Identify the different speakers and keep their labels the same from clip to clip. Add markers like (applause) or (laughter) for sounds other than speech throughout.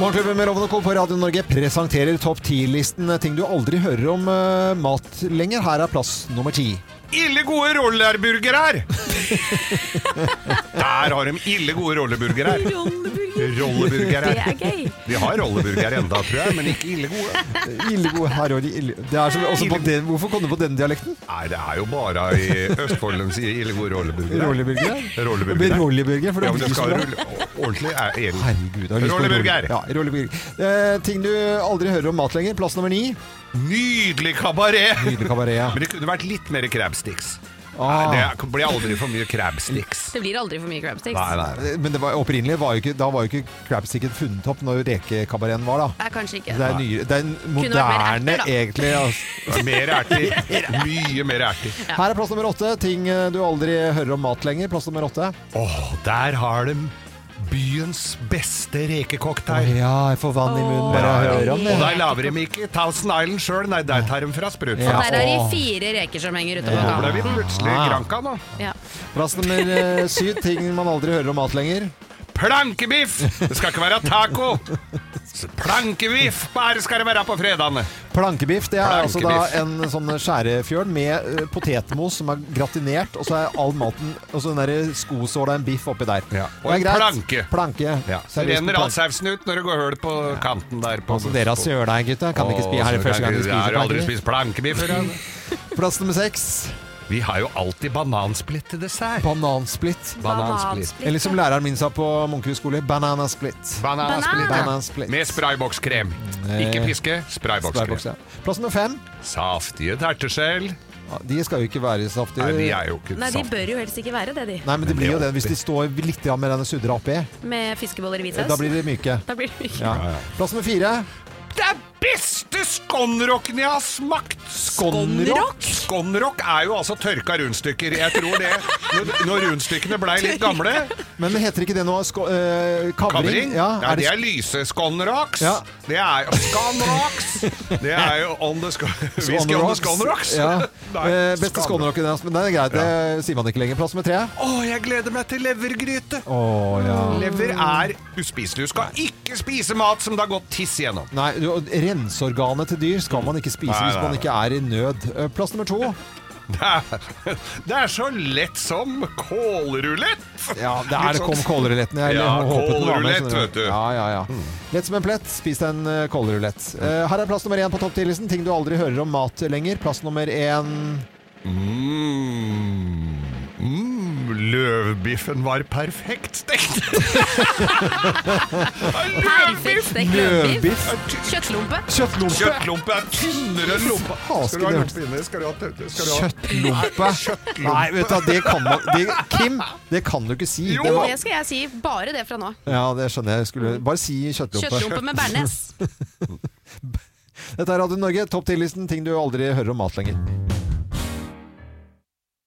Speaker 1: Morgenklubben med Loven og Co. på Radio Norge presenterer topp ti-listen eh, ting du aldri hører om eh, mat lenger. Her er plass nummer ti.
Speaker 2: Ille gode rollerburger her! Der har de ille gode rollerburger her. Rolleburger
Speaker 3: Det
Speaker 2: her.
Speaker 3: er gøy.
Speaker 2: Vi har rolleburger enda, tror jeg, men ikke ille gode.
Speaker 1: Ildegod her og ille... Det er så, også på den, hvorfor kom du på den dialekten?
Speaker 2: Nei, det er jo bare i Østfold de sier ille gode rolleburger.
Speaker 1: Rolleburger?
Speaker 2: Rolleburger.
Speaker 1: Men Rolleburger, for
Speaker 2: Ja,
Speaker 1: det
Speaker 2: men
Speaker 1: blir
Speaker 2: det
Speaker 1: så
Speaker 2: skal
Speaker 1: bra.
Speaker 2: rulle ordentlig. Er enig.
Speaker 1: Herregud, jeg har lyst på
Speaker 2: Rolleburger.
Speaker 1: rolle- Ja, rolleburger. Eh, ting du aldri hører om mat lenger. Plass nummer ni.
Speaker 2: Nydelig kabaret!
Speaker 1: Nydelig kabaret. ja.
Speaker 2: Men det kunne vært litt mer crabsticks.
Speaker 1: Ah.
Speaker 2: Nei, Det blir aldri for mye crabsticks.
Speaker 3: Det blir aldri for mye crabsticks.
Speaker 2: Nei, nei.
Speaker 1: Eh, Men det var, opprinnelig var jo ikke, da var jo ikke crabsticken funnet opp når rekekabareten var, da.
Speaker 3: Nei, kanskje ikke.
Speaker 1: Det er, ny, det er en
Speaker 3: vært mer
Speaker 1: moderne,
Speaker 3: erter, da.
Speaker 1: egentlig. Altså.
Speaker 3: (laughs)
Speaker 2: Mer
Speaker 1: (laughs)
Speaker 2: erter. Mye mer erter.
Speaker 1: Her er plass nummer åtte. Ting eh, du aldri hører om mat lenger. Plass nummer åtte.
Speaker 2: Åh, der har de byens beste rekecocktail.
Speaker 1: Ja, jeg får vann i munnen bare
Speaker 2: Ja,
Speaker 1: jeg
Speaker 2: ja.
Speaker 1: hører om
Speaker 2: Og
Speaker 1: det.
Speaker 2: der lager de ikke Thousand Island sjøl, nei, der tar de fra spruten.
Speaker 1: Ja.
Speaker 2: Ja.
Speaker 3: Der er det fire reker som henger ute på
Speaker 2: Da ble vi
Speaker 3: gangen.
Speaker 2: plutselig i Granca nå.
Speaker 3: Ja.
Speaker 1: Plass nummer eh, syv. Ting man aldri hører om mat lenger.
Speaker 2: Plankebiff! Det skal ikke være taco! Plankebiff bare skal det være på fredagene.
Speaker 1: Plankebiff, det er altså da
Speaker 2: Plankebiff.
Speaker 1: en sånn skjærefjørn med eh, potetmos som er gratinert, og så er all maten Og så den derre skosåla en biff oppi der.
Speaker 2: Ja, og
Speaker 1: Det er
Speaker 2: en
Speaker 1: greit.
Speaker 2: planke.
Speaker 1: Planke.
Speaker 2: Ja. Så
Speaker 1: Seriøst,
Speaker 2: renner
Speaker 1: på
Speaker 2: all sausen ut når det går høl på kanten der. På,
Speaker 1: planke. Altså, dere har søla her, gutta. Kan ikke spise her
Speaker 2: Åh,
Speaker 1: det første gang dere
Speaker 2: jeg har
Speaker 1: spiser
Speaker 2: aldri
Speaker 1: plankebiff.
Speaker 2: spist plankebiff før. jeg.
Speaker 1: (laughs) Plass nummer seks.
Speaker 2: Vi har jo alltid banansplitt til dessert.
Speaker 1: Banansplitt.
Speaker 2: Banansplitt.
Speaker 1: Eller som læreren min sa på Munkehus skole, bananasplit.
Speaker 2: Banansplitt.
Speaker 3: Banan.
Speaker 1: Banansplitt.
Speaker 2: Med spraybokskrem. Ikke piske, spraybokskrem.
Speaker 1: Squarebox, ja. Plass nummer fem.
Speaker 2: Saftige terteskjell.
Speaker 1: Ja, De skal jo ikke være saftige.
Speaker 2: Nei, de er jo ikke
Speaker 3: Nei, de
Speaker 2: saft.
Speaker 3: bør jo helst ikke være det, de.
Speaker 1: Nei, men det
Speaker 2: Men det
Speaker 1: blir
Speaker 2: er
Speaker 1: jo det hvis
Speaker 2: oppi.
Speaker 1: de står litt grann med denne sudra oppi.
Speaker 3: Med fiskeboller i hvit saus.
Speaker 1: Da blir de myke.
Speaker 3: Da blir det ikke.
Speaker 1: Ja. Plass nummer fire.
Speaker 2: Det er beste skonrocken jeg har smakt!
Speaker 1: Skonrock?
Speaker 2: Skonrock er jo altså tørka rundstykker. Jeg tror det. Når, når rundstykkene blei litt gamle
Speaker 1: (laughs) Men heter ikke det noe sko eh, kavring?
Speaker 2: Kavring. Ja,
Speaker 1: er
Speaker 2: det
Speaker 1: det
Speaker 2: er lyse skonrocks.
Speaker 1: Ja.
Speaker 2: Det er jo skonrocks! Det er jo on the skon... (laughs) Whisky on the skonrocks.
Speaker 1: Ja.
Speaker 2: (laughs) Nei,
Speaker 1: Eh, beste
Speaker 2: skonrock.
Speaker 1: skånerocken deres, men det er greit, det sier man ikke lenger. Plass nummer tre.
Speaker 2: Å, jeg gleder meg til levergryte!
Speaker 1: Å ja.
Speaker 2: Lever er uspiselig. Du skal ikke spise mat som det har gått tiss igjennom.
Speaker 1: Nei, du, og renseorganet til dyr skal man ikke spise
Speaker 2: Nei,
Speaker 1: hvis
Speaker 2: nei,
Speaker 1: man ikke er i nød. Eh, Plass nummer to.
Speaker 2: (laughs) Det er, det er så lett som kålrulett!
Speaker 1: Ja, det er
Speaker 2: Litt
Speaker 1: kom
Speaker 2: sånn-
Speaker 1: kålruletten. Jeg
Speaker 2: Ja,
Speaker 1: håpet den var med,
Speaker 2: kålrulett,
Speaker 1: skjønner
Speaker 2: vet du.
Speaker 1: Ja, ja, ja.
Speaker 2: Mm.
Speaker 1: Lett som en plett, spis deg en eh, kålrulett. Eh, her er plass nummer én på topp 10-listen. Ting du aldri hører om mat lenger. Plass nummer én
Speaker 2: Mm, mm, løvbiffen var perfekt
Speaker 3: (laughs)
Speaker 2: stekt!
Speaker 3: Perfekt
Speaker 2: (laughs) Løvbiff!
Speaker 3: stekt løvbiff.
Speaker 1: løvbiff.
Speaker 3: Kjøttlompe.
Speaker 1: Kjøttlompe.
Speaker 2: Kjøttlompe er tynnere enn lompe.
Speaker 1: Faen,
Speaker 2: Skal du ha
Speaker 1: det
Speaker 2: lompe inni? Skal du ha tø- skal du ha-
Speaker 1: Kjøttlompe.
Speaker 2: Kjøttlompe.
Speaker 1: Nei, vet du hva, det kan man det, Kim, det kan du ikke si.
Speaker 2: Jo!
Speaker 1: Det var,
Speaker 3: Det skal jeg si. Bare det fra nå.
Speaker 1: ja, det skjønner jeg. Skulle, bare si kjøttlompe.
Speaker 3: Kjøttlompe med bearnés.
Speaker 1: (laughs) Dette er Radio Norge, topp 10-listen. Ting du aldri hører om mat lenger.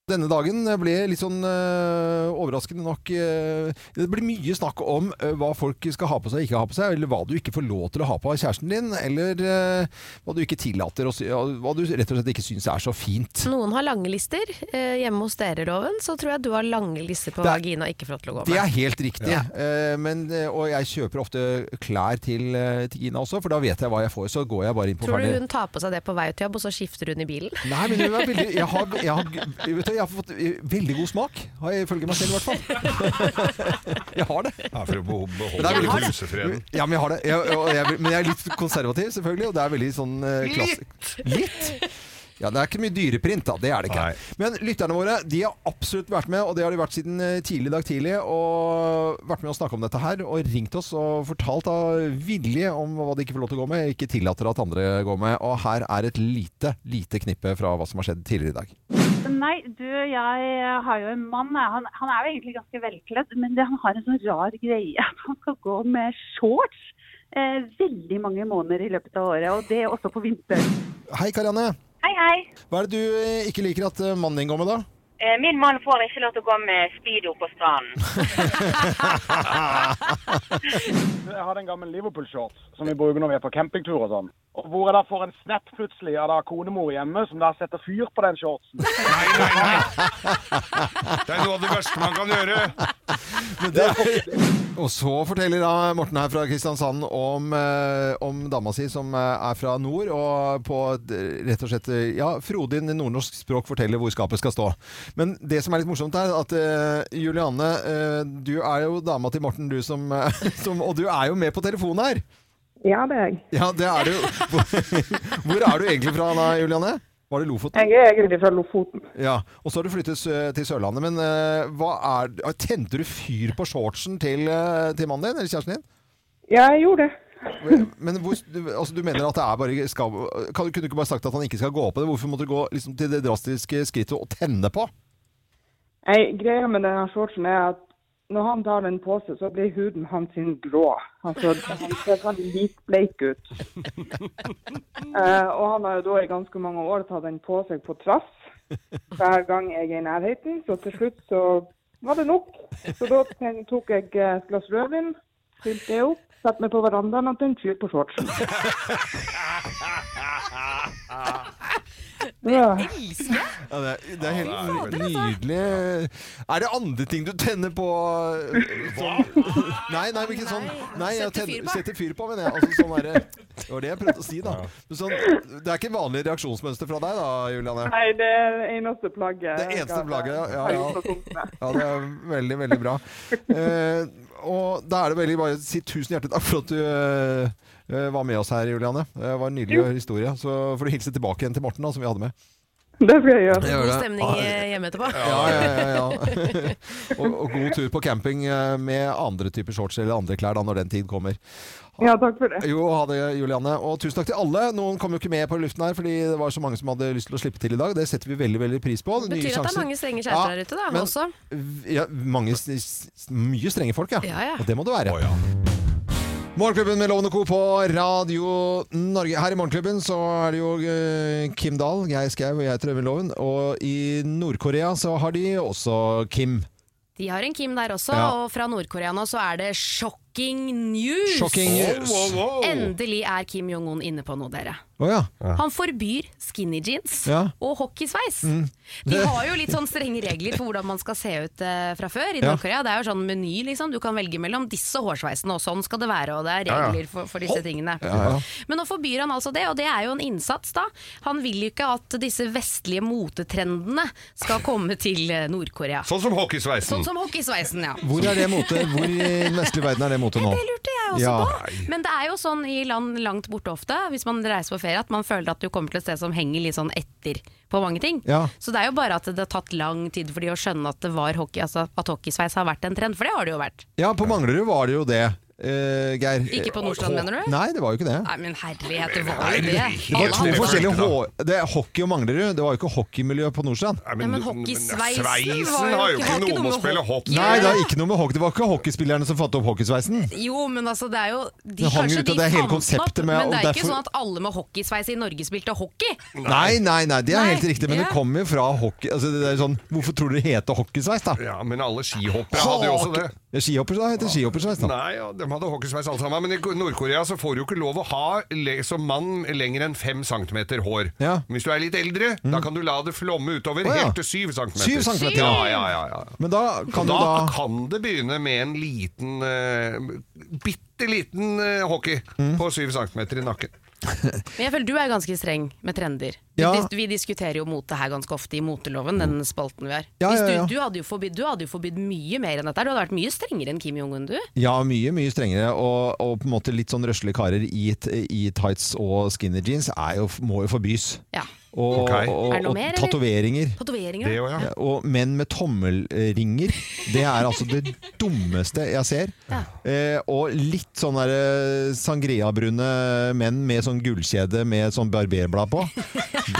Speaker 1: Denne dagen ble litt sånn øh, overraskende nok øh, Det blir mye snakk om øh, hva folk skal ha på seg og ikke ha på seg, eller hva du ikke får lov til å ha på av kjæresten din, eller øh, hva du ikke tillater å sy, ja, Hva du rett og slett ikke syns er så fint.
Speaker 3: Noen har lange lister. Eh, hjemme hos dere, Loven, så tror jeg du har lange lister på
Speaker 1: Det er-
Speaker 3: vagina ikke får lov til å gå
Speaker 1: Det
Speaker 3: med.
Speaker 1: er helt riktig. Eh, men, eh, og jeg kjøper ofte klær til, eh, til Gina også, for da vet jeg hva jeg får. Så går jeg bare inn på
Speaker 3: Tror du
Speaker 1: ferdig-
Speaker 3: hun tar på seg det på vei ut til jobb, og så skifter hun i bilen?
Speaker 1: Nei, men hun er veldig, jeg, har, jeg, har, vet du, jeg har fått eh, veldig god smak, har jeg ifølge meg selv i hvert
Speaker 3: (laughs)
Speaker 1: fall. Jeg har det.
Speaker 2: Ja, for å beho-
Speaker 1: Det er
Speaker 2: beholde
Speaker 1: veldig-
Speaker 2: husefreden.
Speaker 1: Ja, men jeg har det. Jeg, og jeg, men jeg er litt konservativ, selvfølgelig, og det er veldig sånn eh, klass- Litt? Ja, det er ikke mye dyreprint, da. Det er det ikke.
Speaker 2: Nei.
Speaker 1: Men lytterne våre de har absolutt vært med, og det har de vært siden eh, tidlig i dag tidlig. Og vært med å snakke om dette her, og ringt oss og fortalt av vilje om hva de ikke får lov til å gå med, ikke tillater at andre går med. Og her er et lite, lite knippe fra hva som har skjedd tidligere i dag.
Speaker 4: Nei, du, jeg har jo en mann. jeg. Han, han er jo egentlig ganske velkledd, men det, han har en sånn rar greie. Han skal gå med shorts eh, veldig mange måneder i løpet av året, og det også på vinteren.
Speaker 1: Hei, Karianne.
Speaker 5: Hei, hei.
Speaker 1: Hva er det du eh, ikke liker at eh, mannen din går med, da?
Speaker 5: Eh, Min mann får ikke lov til å gå med speedo på stranden.
Speaker 6: Jeg hadde en gammel Liverpool-shorts som vi bruker når vi er på campingtur og
Speaker 2: (laughs)
Speaker 6: sånn. Og Hvor jeg da får en snap plutselig av da konemor hjemme som da setter fyr på den shortsen.
Speaker 2: Nei, nei, nei. Det er noe av det verste man kan gjøre.
Speaker 1: Og så forteller da Morten her fra Kristiansand om, eh, om dama si som eh, er fra nord, og på et, eh, rett og slett eh, Ja, frodig nordnorsk språk forteller hvor skapet skal stå. Men det som er litt morsomt, er at eh, Julianne, eh, du er jo dama til Morten, du som, eh, (laughs) som Og du er jo med på telefonen her!
Speaker 7: Ja, det er jeg.
Speaker 1: Ja, det er du. Hvor, hvor er du egentlig fra da, Julianne? Var det Lofoten?
Speaker 7: Jeg er egentlig fra Lofoten.
Speaker 1: Ja, Og så har du flyttet eh, til Sørlandet, men eh, hva er Tente du fyr på shortsen til, eh, til mannen din, eller kjæresten din?
Speaker 7: Ja, jeg gjorde det.
Speaker 1: Men hvor, du, altså, du mener at det er bare skal, kan, Kunne du ikke bare sagt at han ikke skal gå på det? Hvorfor måtte du gå liksom, til det drastiske skrittet å tenne på?
Speaker 7: Jeg, greia med denne shortsen er at når han tar den på seg, så blir huden hans sin grå. Altså, han ser sånn hvitbleik
Speaker 1: (laughs)
Speaker 7: ut. Eh, og han har jo da i ganske mange år tatt den på seg på trass. Hver gang jeg er i nærheten, så til slutt så var det nok. Så da ten- tok jeg eh, et glass rødvin, fylte det opp, satte meg på verandaen og tente fyr på
Speaker 1: (laughs)
Speaker 7: shortsen. Ja.
Speaker 1: (laughs) Ja, det, er, det er helt
Speaker 3: altså.
Speaker 1: nydelig. Er det andre ting du tenner på eh, Nei, nei, men ikke sånn nei, jeg
Speaker 3: Setter
Speaker 1: tenner-
Speaker 3: fyr på.
Speaker 1: Setter fyr på, mener jeg. Altså, sånn er det. det var det jeg prøvde å si, da. Men sånn, det er ikke vanlig reaksjonsmønster fra deg da, Juliane?
Speaker 7: Nei, det er det eneste plagget.
Speaker 1: Det eneste plagget, ja, ja, ja.
Speaker 7: ja.
Speaker 1: Ja, det er veldig, veldig bra. Eh, og da er det veldig bare å si tusen hjertelig takk for at du eh, eh, var med oss her, Juliane. Det var en nydelig historie. Så får du hilse tilbake igjen til Morten, da, som vi hadde med.
Speaker 7: Det skal jeg gjøre.
Speaker 3: God stemning eh, hjemme etterpå.
Speaker 1: Ja, ja, ja, ja. (laughs) og, og god tur på camping eh, med andre typer shorts eller andre klær da, når den tid kommer.
Speaker 7: Ja, takk for det.
Speaker 1: Jo, ha det, Julianne. Og tusen takk til alle. Noen kom jo ikke med på luften her fordi det var så mange som hadde lyst til å slippe til i dag. Det setter vi veldig veldig pris på.
Speaker 3: Det betyr at det er mange strenge kjærester der ute, da.
Speaker 1: men-
Speaker 3: også.
Speaker 1: ja, mange, s- s- Mye strenge folk, ja.
Speaker 3: Ja, ja.
Speaker 1: Og det må det være.
Speaker 2: Å, ja.
Speaker 1: Morgenklubben med Lovende Co. på Radio Norge. Her i Morgenklubben så er det jo eh, Kim Dahl, Geir Skau og jeg heter Øyvind Loven. Og i Nord-Korea så har de også Kim.
Speaker 3: (laughs) De har en Kim der også,
Speaker 1: Ja.
Speaker 3: og fra Nord-Korea nå så er det shocking news!
Speaker 1: Shocking news. Å
Speaker 3: Endelig er Kim Jong-un inne på noe, dere.
Speaker 1: ja.
Speaker 3: Han forbyr skinny jeans
Speaker 1: Ja. Mm.
Speaker 3: og hockeysveis. De har jo litt sånn strenge regler for hvordan man skal se ut eh, fra før i
Speaker 1: Ja.
Speaker 3: Nord-Korea. Det er jo sånn meny, liksom. Du kan velge mellom disse hårsveisene, og sånn skal det være. Og det er
Speaker 2: Ja, ja.
Speaker 3: regler for, for disse tingene.
Speaker 1: ja.
Speaker 3: Men nå forbyr han altså det, og det er jo en innsats, da. Han vil jo ikke at disse vestlige motetrendene skal komme til eh, Nord-Korea.
Speaker 2: Sånn som hockeysveisen.
Speaker 3: Sånn som hockeysveisen, ja.
Speaker 1: (laughs) Hvor er det mote? Hvor i den vestlige verden er det mote nå?
Speaker 3: Det lurte jeg også
Speaker 1: Ja.
Speaker 3: på. Men det er jo sånn i land langt borte ofte, hvis man reiser på ferie, at man føler at du kommer til et sted som henger litt sånn etter på mange ting.
Speaker 1: Ja.
Speaker 3: Så det er jo bare at det har tatt lang tid for de å skjønne at det var hockey, altså at hockeysveis har vært en trend, for det har det jo vært.
Speaker 1: Ja, på Manglerud var det jo det, eh, Geir.
Speaker 3: Ikke på Nordstrand, mener du?
Speaker 1: Nei, det var jo ikke det.
Speaker 3: Nei, men herlighet, det var jo
Speaker 2: Nei,
Speaker 3: det.
Speaker 2: helt
Speaker 1: Det
Speaker 3: Alle
Speaker 1: var
Speaker 3: hadde-
Speaker 1: to forskjellige
Speaker 2: da.
Speaker 1: hå- Det er hockey og Manglerud. Det var jo ikke hockeymiljø på Nordstrand.
Speaker 2: Nei,
Speaker 3: Nei, men hockeysveisen var
Speaker 2: har jo
Speaker 3: jo ikke-
Speaker 2: ikke
Speaker 3: har ikke
Speaker 2: noe med å
Speaker 3: noe
Speaker 2: spille
Speaker 3: med
Speaker 2: hockey
Speaker 1: Nei, det, er ikke noe med hockey. det var ikke hockeyspillerne som fant opp hockeysveisen.
Speaker 3: Jo, men altså det er jo de,
Speaker 1: Det hang
Speaker 3: Kanskje
Speaker 1: ut av
Speaker 3: de
Speaker 1: det hele
Speaker 3: fant den opp,
Speaker 1: konseptet med-
Speaker 3: men det er
Speaker 1: og
Speaker 3: ikke
Speaker 1: derfor-
Speaker 3: sånn at alle med hockeysveis i Norge spilte hockey.
Speaker 1: Nei, nei, nei, det er
Speaker 3: Nei,
Speaker 1: helt riktig, men
Speaker 3: ja.
Speaker 1: det kommer jo fra hockey altså, det er sånn, Hvorfor tror dere det heter hockeysveis, da?
Speaker 2: Ja, men alle skihoppere hadde jo også det.
Speaker 1: Ja, Skihopper, da heter det skihoppersveis, da.
Speaker 2: Nei, ja, de hadde hockeysveis alle sammen. Men i Nord-Korea så får du jo ikke lov å ha le som mann lenger enn 5 cm hår.
Speaker 1: Ja. Mm.
Speaker 2: Men Hvis du er litt eldre, da kan du la det flomme
Speaker 1: Å,
Speaker 2: utover
Speaker 1: ja.
Speaker 2: helt til 7 cm.
Speaker 1: Syv centimeter,
Speaker 2: ja,
Speaker 1: ja.
Speaker 2: ja, ja, ja.
Speaker 1: Men da kan
Speaker 2: Da
Speaker 1: du da
Speaker 2: kan det begynne med en liten, uh, bitte liten eh, hockey
Speaker 1: Mm.
Speaker 2: på 7 cm i nakken.
Speaker 3: Men jeg føler du er ganske streng med trender. Vi,
Speaker 1: Ja.
Speaker 3: dis vi diskuterer jo mote her ganske ofte i moteloven, den spalten vi har.
Speaker 1: Ja,
Speaker 3: Hvis
Speaker 1: ja,
Speaker 3: du,
Speaker 1: ja.
Speaker 3: Du, hadde jo forbydd, du hadde jo forbydd mye mer enn dette. Du hadde vært mye strengere enn Kim Jong-un, du.
Speaker 1: Ja, mye, mye strengere, og, og på en måte litt sånn røslige karer i, t- i tights og skinny jeans er jo, må jo forbys.
Speaker 3: Ja.
Speaker 1: Og,
Speaker 2: Ok.
Speaker 1: og,
Speaker 3: Er det noe
Speaker 1: og
Speaker 3: mer, eller?
Speaker 1: tatoveringer.
Speaker 3: Tatoveringer?
Speaker 2: Det
Speaker 3: da?
Speaker 2: òg, ja.
Speaker 1: Ja, Og menn med tommelringer. Det er altså det dummeste jeg ser.
Speaker 3: Ja.
Speaker 1: Eh, og litt sånn der eh, sangria-brune menn med sånn gullkjede med sånn barberblad på.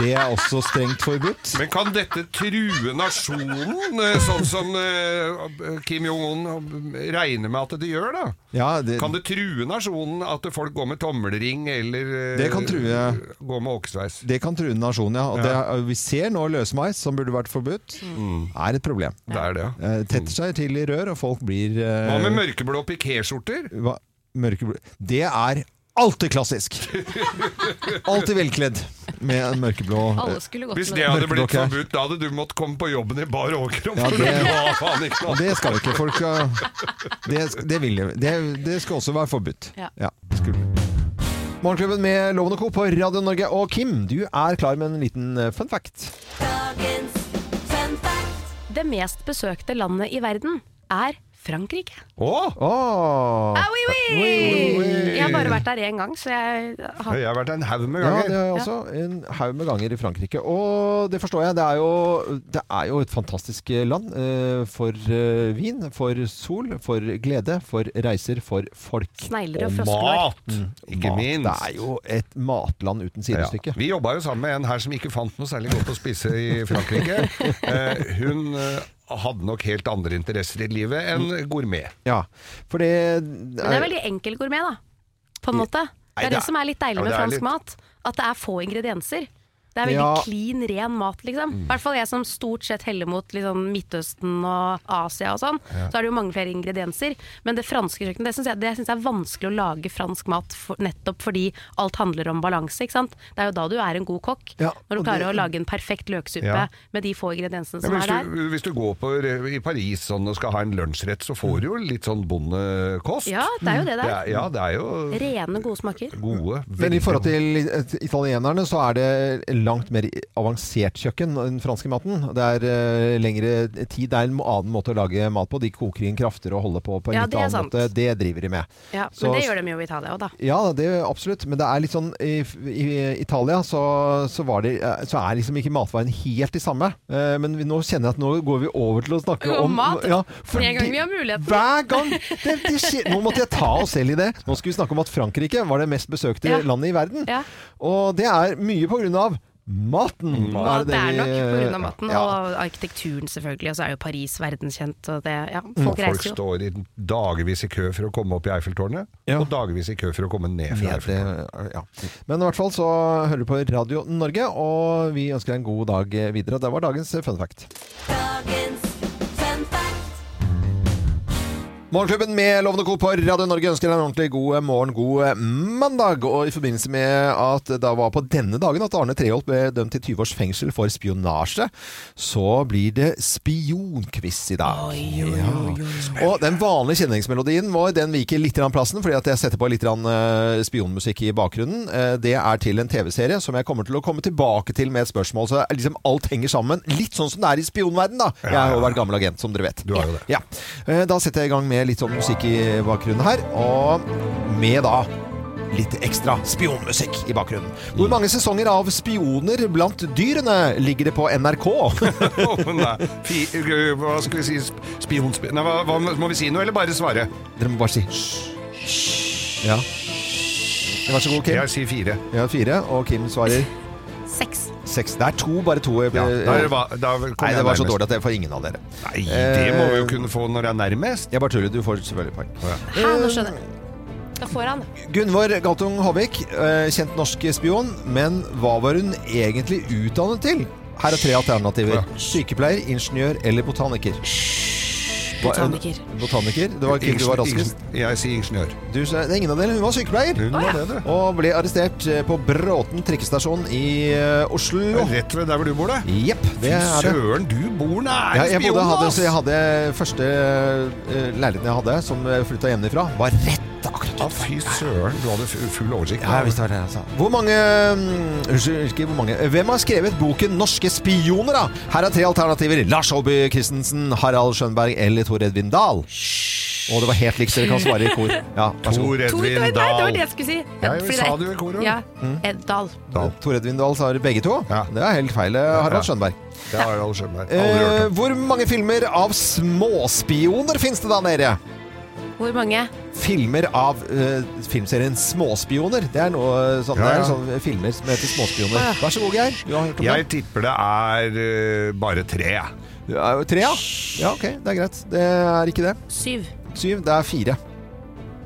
Speaker 1: Det er også strengt forbudt.
Speaker 2: Men kan dette true nasjonen, eh, sånn som eh, Kim Jong-un regner med at det gjør, da?
Speaker 1: Ja, det,
Speaker 2: Kan det true nasjonen at folk går med tommelring eller eh,
Speaker 1: Det kan true.
Speaker 2: går med åkesveis?
Speaker 1: det kan true nasjonen, ja. Og det, er- vi ser nå løsmeis, som burde vært forbudt, er et problem.
Speaker 2: Mm. Det er det, ja. Mm.
Speaker 1: Eh, tetter seg til i rør, og folk blir eh,
Speaker 2: Hva med mørkeblå pikéskjorter?
Speaker 1: hva- mørkeblå Det er alltid klassisk! Alltid velkledd med en mørkeblå eh,
Speaker 3: Alle skulle gått
Speaker 2: Hvis
Speaker 3: med
Speaker 2: det
Speaker 3: det.
Speaker 2: hadde blitt
Speaker 1: Mørkeblå, ok.
Speaker 2: forbudt, da hadde du måttet komme på jobben i bar overkropp.
Speaker 1: Ja,
Speaker 2: for
Speaker 1: det-
Speaker 2: du har faen ikke
Speaker 1: Og
Speaker 2: noe.
Speaker 1: det skal vi ikke. Folk skal, det, det, vil, jeg- det, det skal også være forbudt.
Speaker 3: Ja.
Speaker 1: skulle vi. Morgenklubben med Lovende Co. på Radio Norge. Og Kim, du er klar med en liten eh, fun fact.
Speaker 3: Det mest besøkte landet i verden er Frankrike.
Speaker 2: Å,
Speaker 1: Åh,
Speaker 3: Ah, oui, oui! Jeg har bare vært der én gang, så jeg har
Speaker 2: jeg har vært der en haug med
Speaker 1: ja,
Speaker 2: ganger.
Speaker 1: det er også en haug med ganger i Frankrike. Og det forstår jeg. Det er jo, det er jo et fantastisk land eh, for eh, vin, for sol, for glede, for reiser, for folk.
Speaker 3: snegler og
Speaker 2: Og
Speaker 3: froskelår.
Speaker 2: mat, ikke
Speaker 1: Mat,
Speaker 2: minst.
Speaker 1: Det er jo et matland uten sidestykke.
Speaker 2: Vi jobba jo sammen med en her som ikke fant noe særlig godt å spise i Frankrike. Eh, hun eh, hadde nok helt andre interesser i livet enn gourmet.
Speaker 1: Ja, for det
Speaker 3: Men det er veldig enkel gourmet, da. På en måte. Det
Speaker 2: Nei,
Speaker 3: er det som er litt
Speaker 2: ja,
Speaker 3: deilig med
Speaker 2: det er
Speaker 3: fransk
Speaker 2: litt-
Speaker 3: mat. At det er få ingredienser. Det er
Speaker 1: Ja.
Speaker 3: veldig clean, ren mat, liksom.
Speaker 2: Mm.
Speaker 3: I hvert fall jeg som stort sett heller mot liksom, Midtøsten og Asia og sånn. Så er det jo mange flere ingredienser. Men det franske kjøkkenet, det syns jeg, det synes jeg er vanskelig å lage fransk mat for, nettopp fordi alt handler om balanse, ikke sant. Det er jo da du er en god kokk.
Speaker 1: Ja,
Speaker 3: når du
Speaker 1: og
Speaker 3: klarer
Speaker 1: det-
Speaker 3: å lage en perfekt løksuppe
Speaker 2: Ja.
Speaker 3: med de få ingrediensene
Speaker 2: Ja,
Speaker 3: som
Speaker 2: men
Speaker 3: er der.
Speaker 2: hvis, du, hvis du går på, re- i Paris sånn, og skal ha en lunsjrett, så får du jo litt sånn bondekost.
Speaker 3: Ja, det er jo det
Speaker 2: det
Speaker 3: der.
Speaker 2: er, ja, det er jo
Speaker 3: Rene, gode smaker.
Speaker 2: gode
Speaker 1: Men i
Speaker 2: veldig
Speaker 1: forhold til it- italienerne så er det langt mer avansert kjøkken enn den franske maten. Det er eh, lengre tid. Det er en annen måte å lage mat på. De koker inn krafter og holder på på en
Speaker 3: Ja,
Speaker 1: litt
Speaker 3: det er
Speaker 1: annen
Speaker 3: sant.
Speaker 1: måte. Det driver de med.
Speaker 3: Ja,
Speaker 1: Så-
Speaker 3: men det gjør de jo i Italia òg, da.
Speaker 1: Ja, det absolutt. Men det er litt sånn I, i Italia så, så, var det, eh, så er liksom ikke matveien helt de samme. Eh, Men vi, nå kjenner jeg at nå går vi over til å snakke
Speaker 3: Om
Speaker 1: om,
Speaker 3: mat.
Speaker 1: Ja,
Speaker 3: Med en gang
Speaker 1: fordi-
Speaker 3: vi har muligheten.
Speaker 1: Hver
Speaker 3: (laughs)
Speaker 1: gang! Det, det skjer. Nå måtte jeg ta oss selv i det. Nå skal vi snakke om at Frankrike var det mest besøkte
Speaker 3: Ja.
Speaker 1: landet i verden.
Speaker 3: Ja.
Speaker 1: Og det er mye på grunn av maten.
Speaker 2: Mm.
Speaker 3: Ja, det er nok pga.
Speaker 1: vi-
Speaker 3: maten
Speaker 1: Ja.
Speaker 3: og arkitekturen, selvfølgelig. Og så er jo Paris verdenskjent. Og det, ja, folk
Speaker 2: Folk
Speaker 3: reiser jo.
Speaker 2: står i dagevis i kø for å komme opp i Eiffeltårnet,
Speaker 1: Ja.
Speaker 2: og dagevis i kø for å komme ned fra
Speaker 1: Ja,
Speaker 2: Eiffeltårnet.
Speaker 1: det- ja. Men i hvert fall så hører du på Radio Norge, og vi ønsker deg en god dag videre. Det var dagens fun fact. Morgenklubben med Lovende Co. på Radio Norge ønsker deg en ordentlig god morgen, god eh, mandag. Og i forbindelse med at det var på denne dagen at Arne Treholt ble dømt til 20 års fengsel for spionasje, så blir det spionquiz i dag. Ja. Og den vanlige kjenningsmelodien vår den viker litt grann plassen, fordi at jeg setter på litt grann, eh, spionmusikk i bakgrunnen. Eh, det er til en TV-serie som jeg kommer til å komme tilbake til med et spørsmål. Så liksom alt henger sammen. Litt sånn som det er i spionverden da. Jeg har jo vært gammel agent, som dere vet.
Speaker 2: Du har jo det.
Speaker 1: Ja. Eh, Da setter jeg i gang med litt sånn musikk i bakgrunnen her, og med da litt ekstra spionmusikk i bakgrunnen.
Speaker 2: Mm.
Speaker 1: Hvor mange sesonger av Spioner blant dyrene ligger det på NRK? (laughs)
Speaker 2: (laughs) Å, nei. Fi, hva skal vi si? Sp- Spionsp... Nei, hva, hva, må vi si noe, eller bare svare?
Speaker 1: Dere må bare si hysj. Ja. Vær så god, Kim.
Speaker 2: Jeg sier fire.
Speaker 1: Jeg har fire, og Kim svarer
Speaker 3: Seks.
Speaker 1: seks. Det er to, bare to.
Speaker 2: Ja, da,
Speaker 1: Nei,
Speaker 2: var- da kom jeg
Speaker 1: det var så
Speaker 2: nærmest.
Speaker 1: dårlig at jeg får ingen av dere.
Speaker 2: Nei, det må vi jo
Speaker 1: Eh,
Speaker 2: kunne få når det er nærmest.
Speaker 1: Jeg bare tuller. Du får selvfølgelig poeng.
Speaker 3: Hæ, nå skjønner jeg. Da får han.
Speaker 1: Gunvor Galtung Håvik, eh, kjent norsk spion, men hva var hun egentlig utdannet til? Her er tre alternativer. Sykepleier, ingeniør eller botaniker.
Speaker 3: Botaniker.
Speaker 1: Botaniker. Det var Kim du var raskest.
Speaker 2: Ingen- Jeg sier ingeniør.
Speaker 1: Du, sa- det er ingen av dere. Hun var sykepleier.
Speaker 2: Hun var det, du.
Speaker 1: Og ble arrestert eh, på Bråten trikkestasjon i eh, Oslo.
Speaker 2: Rett ved der hvor du bor, da.
Speaker 1: Jepp, det er det.
Speaker 2: Søren, du bor
Speaker 1: Ja,
Speaker 2: nære
Speaker 1: jeg, bodde,
Speaker 2: spionen,
Speaker 1: hadde,
Speaker 2: ass!
Speaker 1: så jeg hadde første eh, leiligheten jeg hadde, som eh, flytta hjemmefra, var rett akkurat
Speaker 2: Ja, fy søren, du hadde fu- full oversikt.
Speaker 1: Ja, jeg visste det var det jeg sa. Hvor mange mm, Unnskyld, ikke hvor mange. Hvem har skrevet boken 'Norske spioner'? da? Her er tre alternativer. Lars Håby Christensen, Harald Skjønberg eller Tor Edvin Dahl. Og det var helt likt, dere kan svare i kor. Ja, vær så god.
Speaker 2: Tor
Speaker 3: Tor, nei,
Speaker 2: Edvin
Speaker 3: det var
Speaker 2: Dahl.
Speaker 3: det jeg skulle si.
Speaker 2: Ja,
Speaker 3: Fordi det
Speaker 2: sa
Speaker 3: er-
Speaker 2: du i koret?
Speaker 3: Ja.
Speaker 1: Mm.
Speaker 3: Eddal.
Speaker 2: Dahl.
Speaker 1: Tor Edvin Dahl sa begge to.
Speaker 2: Ja.
Speaker 1: Det er helt feil, eh, Harald
Speaker 2: Ja.
Speaker 1: Skjønberg.
Speaker 2: Det har jeg aldri skjønt meg. Aldri hørt
Speaker 1: Eh,
Speaker 2: om.
Speaker 1: hvor mange filmer av småspioner fins det da nede?
Speaker 3: Hvor mange?
Speaker 1: Filmer av eh, filmserien Småspioner. Det er noe eh, sånn,
Speaker 2: Ja,
Speaker 1: det
Speaker 2: ja.
Speaker 1: er sånne filmer som heter Småspioner. Vær så god, Geir. Du har hørt om
Speaker 2: Jeg
Speaker 1: det?
Speaker 2: tipper det er eh, bare tre, jeg.
Speaker 1: Du er jo Tre, ja? Ja, ok. Det er greit. Det er ikke det.
Speaker 3: Syv.
Speaker 1: Syv. Det er fire.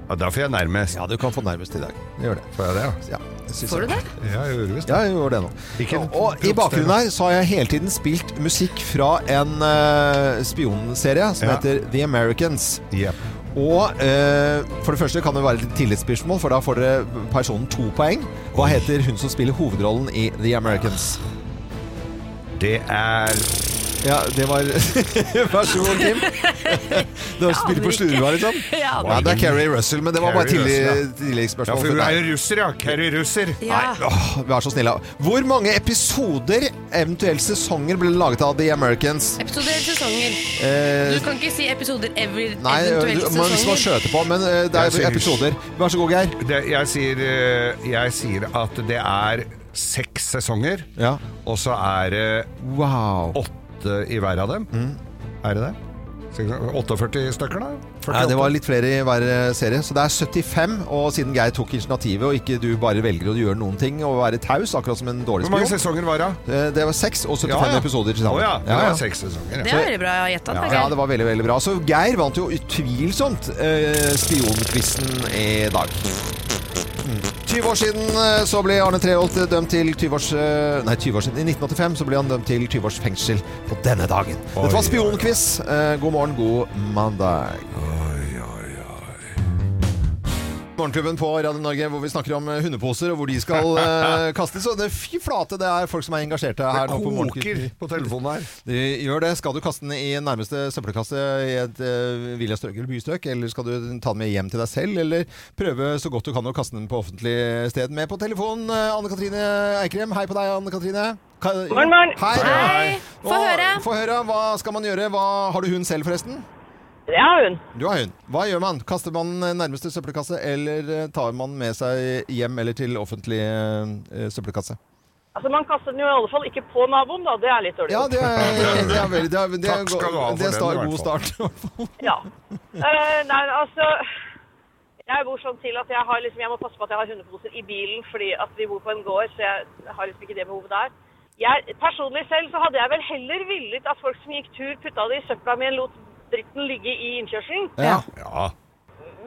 Speaker 2: Ja, da får jeg nærmest.
Speaker 1: Ja, du kan få nærmest i dag. Det gjør det.
Speaker 2: Får jeg det,
Speaker 1: Ja,
Speaker 2: ja?
Speaker 1: jeg synes
Speaker 3: Får du
Speaker 1: jeg-
Speaker 3: det?
Speaker 2: Ja, jeg gjorde visst det.
Speaker 1: Ja, jeg gjorde det nå.
Speaker 2: Ikke en
Speaker 1: og i
Speaker 2: proppstemme.
Speaker 1: bakgrunnen her så har jeg hele tiden spilt musikk fra en eh, spionserie som
Speaker 2: Ja.
Speaker 1: heter The Americans.
Speaker 2: Jepp.
Speaker 1: Og eh, for det første kan det være litt tillitsspørsmål, for da får dere personen to poeng. Hva heter hun som spiller hovedrollen i The Americans?
Speaker 2: Det er
Speaker 1: Ja, det var (laughs) Vær så god,
Speaker 3: (laughs)
Speaker 1: Kim. Du har spilt på slurva, liksom?
Speaker 3: Ja,
Speaker 1: Ja, det er Keri Russell, men det var bare
Speaker 2: Kerry
Speaker 1: tilli-
Speaker 2: Russell, ja. Ja,
Speaker 1: tilleggsspørsmål.
Speaker 2: for hun er jo russer, ja. Kerry russer.
Speaker 3: Ja.
Speaker 1: Nei, åh, vær så snill. da. Hvor mange episoder, eventuelt sesonger, ble laget av The Americans?
Speaker 3: Episoder eller sesonger?
Speaker 1: Eh,
Speaker 3: Du kan ikke si episoder every,
Speaker 1: nei,
Speaker 3: eventuelt
Speaker 1: du- man skal
Speaker 3: sesonger.
Speaker 1: skjøte på, men eh, det
Speaker 2: Jeg
Speaker 1: er
Speaker 2: sier-
Speaker 1: episoder. Vær så god, Geir.
Speaker 2: Det, jeg, sier, eh, jeg sier at det er seks sesonger,
Speaker 1: Ja.
Speaker 2: og så er det
Speaker 1: Wow. Mm.
Speaker 2: åtte i hver av dem. Er det det? Seks- 48 stykker, da?
Speaker 1: Nei, det
Speaker 2: 48.
Speaker 1: var litt flere i hver eh, serie, så det er 75. Og siden Geir tok initiativet, og ikke du bare velger å gjøre noen ting og være taus, akkurat som en dårlig
Speaker 2: Hvor mange
Speaker 1: spion
Speaker 2: sesonger var det?
Speaker 1: Eh, Det var seks og 75 episoder til sammen.
Speaker 2: Å ja, det
Speaker 1: Ja, ja.
Speaker 2: var seks sesonger.
Speaker 3: Det
Speaker 2: Ja.
Speaker 3: var veldig bra gjetta.
Speaker 1: Ja, ja,
Speaker 3: Geir.
Speaker 1: det var veldig veldig bra. Så Geir vant jo utvilsomt eh, spionquizen i dag. Mm. 20 år siden eh, så ble Arne Treholt eh, dømt til 20 års eh, Nei, 20 år siden. I 1985 så ble han dømt til 20 års fengsel på denne dagen. Dette
Speaker 2: Oi,
Speaker 1: var spionquiz. Eh, god morgen, god mandag. Morgenklubben på Radio Norge hvor vi snakker om eh, hundeposer og hvor de skal
Speaker 2: (laughs)
Speaker 1: eh, kastes. Og det fy flate, det er folk som er engasjerte her nå på
Speaker 2: Koker
Speaker 1: morgenklubben.
Speaker 2: på telefonen her.
Speaker 1: Det gjør det. Skal du kaste den i nærmeste søppelkasse i et uh, villastrøk eller bystrøk, eller skal du ta den med hjem til deg selv, eller prøve så godt du kan å kaste den på offentlig sted? Med på telefon, eh, Anne Katrine Eikrem. Hei på deg, Anne Katrine. Ka
Speaker 5: Morgen, morgen.
Speaker 1: Hei.
Speaker 3: Hei. Få
Speaker 1: Og-
Speaker 3: høre.
Speaker 1: Få høre. Hva skal man gjøre? Hva, har du hund selv, forresten?
Speaker 5: Det har hun.
Speaker 1: Du har hund. Hva gjør man? Kaster man den nærmeste søppelkasse, eller eh, tar man med seg hjem eller til offentlig eh, søppelkasse?
Speaker 5: Altså, Man kaster den jo i alle fall ikke på naboen, da. Det er litt dårlig.
Speaker 1: Ja, det er, det er, veldig- det er, det er,
Speaker 2: Takk skal du ha for
Speaker 1: det er
Speaker 2: den,
Speaker 1: sta-
Speaker 2: i hvert
Speaker 1: god
Speaker 2: fall.
Speaker 1: start. i hvert fall.
Speaker 5: Ja. Eh, nei, altså Jeg bor sånn til at jeg har liksom, jeg må passe på at jeg har hundeposer i bilen, fordi at vi bor på en gård, så jeg har liksom ikke det behovet der. Jeg, personlig selv så hadde jeg vel heller villet at folk som gikk tur, putta det i søpla mi og lot dritten ligge i innkjørselen.
Speaker 1: Ja.
Speaker 2: Ja.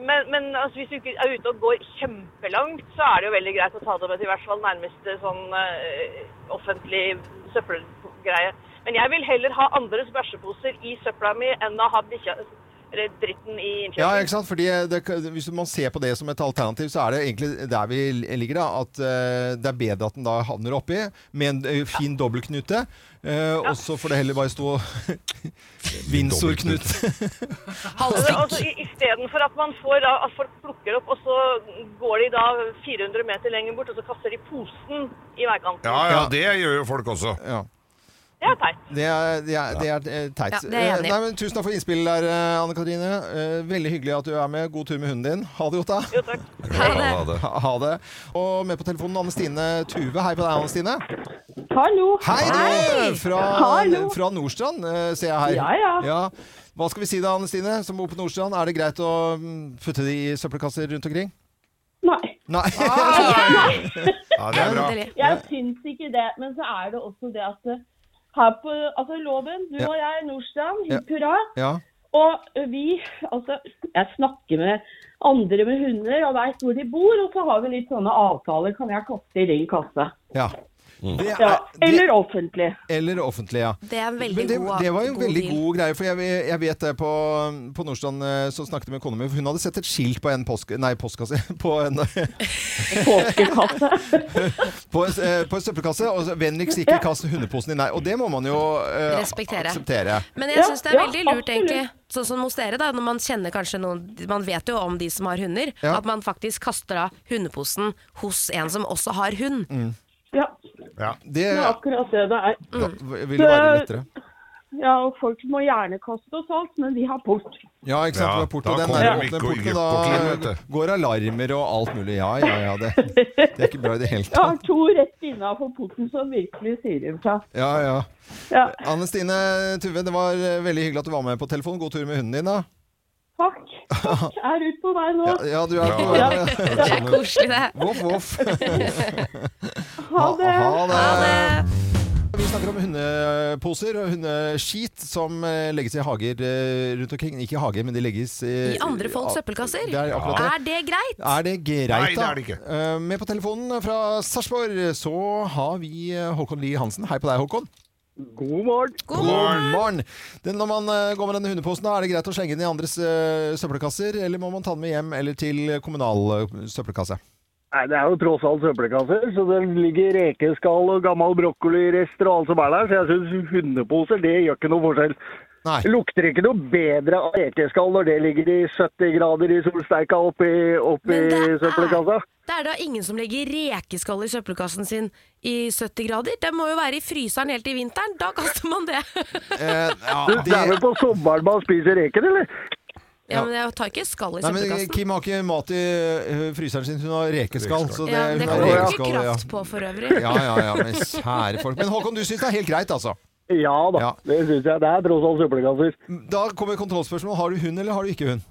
Speaker 5: Men, men altså, hvis du ikke er ute og går kjempelangt, så er det jo veldig greit å ta det med til i hvert fall nærmeste sånn eh, offentlig søppelgreie. Men jeg vil heller ha andres bæsjeposer i søpla mi enn å ha bikkja eller dritten i
Speaker 1: Ja,
Speaker 5: innkjørselen.
Speaker 1: ikke sant? Fordi eh, det, Hvis man ser på det som et alternativ, så er det egentlig der vi ligger, da. At eh, det er bedre at den da havner oppi med en eh, fin dobbeltknute. eh, Og så får det heller bare stå (laughs) Windsor-knute.
Speaker 5: Altså, altså, i- Istedenfor at man får da, at folk plukker opp, og så går de da 400 meter lenger bort, og så kaster de posen i veikanten.
Speaker 2: ja, ja, det gjør jo folk også.
Speaker 1: Ja.
Speaker 5: Det er teit.
Speaker 1: Det er, det er, det er eh, teit.
Speaker 3: Ja, det er jeg enig i.
Speaker 1: Eh, Nei, men Tusen takk for innspillet der, eh, Anne Katrine. Eh, Veldig hyggelig at du er med. God tur med hunden din. Ha det godt, da.
Speaker 5: Jo, takk.
Speaker 2: Ja, da, det.
Speaker 1: Ha, ha det. Og med på telefonen Anne Stine Tuve. Hei på deg, Anne Stine.
Speaker 4: Hallo.
Speaker 1: Hei, du! Fra,
Speaker 4: Hallo.
Speaker 1: fra Nordstrand, eh, ser jeg her.
Speaker 4: Ja, ja.
Speaker 1: Hva skal vi si da, Anne Stine, som bor på Nordstrand? Er det greit å mm, putte de i søppelkasser rundt omkring?
Speaker 4: Nei,
Speaker 1: Nei.
Speaker 2: Ja, det er bra.
Speaker 3: Endelig.
Speaker 4: jeg syns ikke det. Men så er det også det at eh, her på altså loven, du
Speaker 1: Ja.
Speaker 4: og jeg, Nordstrand, hipp
Speaker 1: Ja.
Speaker 4: hurra.
Speaker 1: ja.
Speaker 4: Og vi, altså Jeg snakker med andre med hunder og veit hvor de bor, og så har vi litt sånne avtaler. Kan jeg kaste i din kasse?
Speaker 1: ja.
Speaker 5: Mm.
Speaker 1: Det
Speaker 4: Ja.
Speaker 1: er, det,
Speaker 4: Eller offentlig.
Speaker 1: eller offentlig, ja.
Speaker 3: Det er en veldig
Speaker 1: Men det,
Speaker 3: god
Speaker 1: det var jo en veldig
Speaker 3: deal.
Speaker 1: god greie, for jeg, jeg vet det på, på Nordstrand eh, så snakket jeg med kona mi. for Hun hadde sett et skilt på en postk- nei, postkasse (laughs) på en,
Speaker 4: Påskekasse.
Speaker 1: (laughs) på en, eh, på en søppelkasse. Og så, 'Vennligst ikke kast hundeposen din'. Nei, og det må man jo eh,
Speaker 3: Respektere.
Speaker 1: akseptere.
Speaker 3: Men jeg
Speaker 4: Ja,
Speaker 3: syns det er
Speaker 4: ja,
Speaker 3: veldig lurt,
Speaker 4: absolutt.
Speaker 3: egentlig. Sånn som hos dere, da, når man kjenner kanskje noen Man vet jo om de som har hunder,
Speaker 1: Ja.
Speaker 3: at man faktisk kaster av hundeposen hos en som også har hund.
Speaker 4: Ja,
Speaker 2: Ja.
Speaker 1: Mm. Det,
Speaker 4: det er akkurat det det er.
Speaker 1: da, vil det være lettere.
Speaker 5: Ja, og folk må gjerne kaste og alt, men vi har port.
Speaker 1: Ja, ikke sant.
Speaker 2: Ja,
Speaker 1: det var port,
Speaker 2: da
Speaker 1: og den
Speaker 2: kommer
Speaker 1: der åpne
Speaker 2: de ikke og
Speaker 1: porten,
Speaker 2: jukk på klem,
Speaker 1: da
Speaker 2: vet
Speaker 1: går alarmer og alt mulig. Ja, ja, ja. Det, det er ikke bra i det hele
Speaker 5: Jeg har
Speaker 1: tatt.
Speaker 5: to rett innafor porten som virkelig sier ifra.
Speaker 1: Ja, ja.
Speaker 5: Ja,
Speaker 1: Anne Stine Tuve, det var eh, veldig hyggelig at du var med på telefon. God tur med hunden din, da.
Speaker 5: takk. takk. Jeg er ute på vei nå.
Speaker 1: Ja, ja du er på
Speaker 7: (laughs)
Speaker 1: Sånn.
Speaker 2: Bra.
Speaker 7: Det er koselig, det.
Speaker 1: Voff, voff.
Speaker 5: Ha det.
Speaker 1: Ha
Speaker 7: Ha
Speaker 1: det.
Speaker 7: det.
Speaker 1: Vi snakker om hundeposer og hundeskit som eh, legges i hager eh, rundt omkring. Ikke i hager, men de legges
Speaker 7: I andre folks søppelkasser.
Speaker 1: Det er akkurat det.
Speaker 7: Er det greit?
Speaker 1: Er det greit, da?
Speaker 2: Nei, det er det ikke.
Speaker 1: Eh, Med på telefonen fra Sarpsborg så har vi eh, Håkon Lie Hansen. Hei på deg, Håkon.
Speaker 6: God morgen.
Speaker 7: God
Speaker 1: morgen! Den, når man eh, går med denne hundeposen, da, er det greit å slenge den i andres eh, søppelkasser, eller må man ta den med hjem eller til kommunal eh, søppelkasse?
Speaker 6: Nei, Det er jo tross alt søppelkasser, så det ligger rekeskall og gammel brokkolirester og alt som er der. Så jeg syns hundeposer, det gjør ikke noe forskjell.
Speaker 1: Nei.
Speaker 6: Det lukter ikke noe bedre av rekeskall når det ligger i 70 grader i solsteika oppi, oppi
Speaker 3: Men det er-
Speaker 6: søppelkassa.
Speaker 3: Det er da ingen som legger rekeskall i søppelkassen sin i 70 grader. Det må jo være i fryseren helt i vinteren. Da kaster man det.
Speaker 1: Eh, ja,
Speaker 6: Du, det er
Speaker 1: det-
Speaker 6: vel på sommeren man spiser reker, eller?
Speaker 3: Ja, men jeg tar ikke skall i
Speaker 1: Nei, men eh,
Speaker 3: søppelkassen.
Speaker 1: Kim har ikke mat i ø, fryseren sin, hun har rekeskall. Så det,
Speaker 3: Ja, det
Speaker 1: hun har
Speaker 3: kan du
Speaker 1: rekeskall,
Speaker 3: ikke kraft på for øvrig.
Speaker 1: Ja, ja, ja, men kjære folk. Men Håkon, du syns det er helt greit, altså?
Speaker 6: Ja da,
Speaker 1: Ja.
Speaker 6: det syns jeg. Det er tross alt søppelkasser.
Speaker 1: Da kommer kontrollspørsmålet. Har du hund, eller har du ikke hund?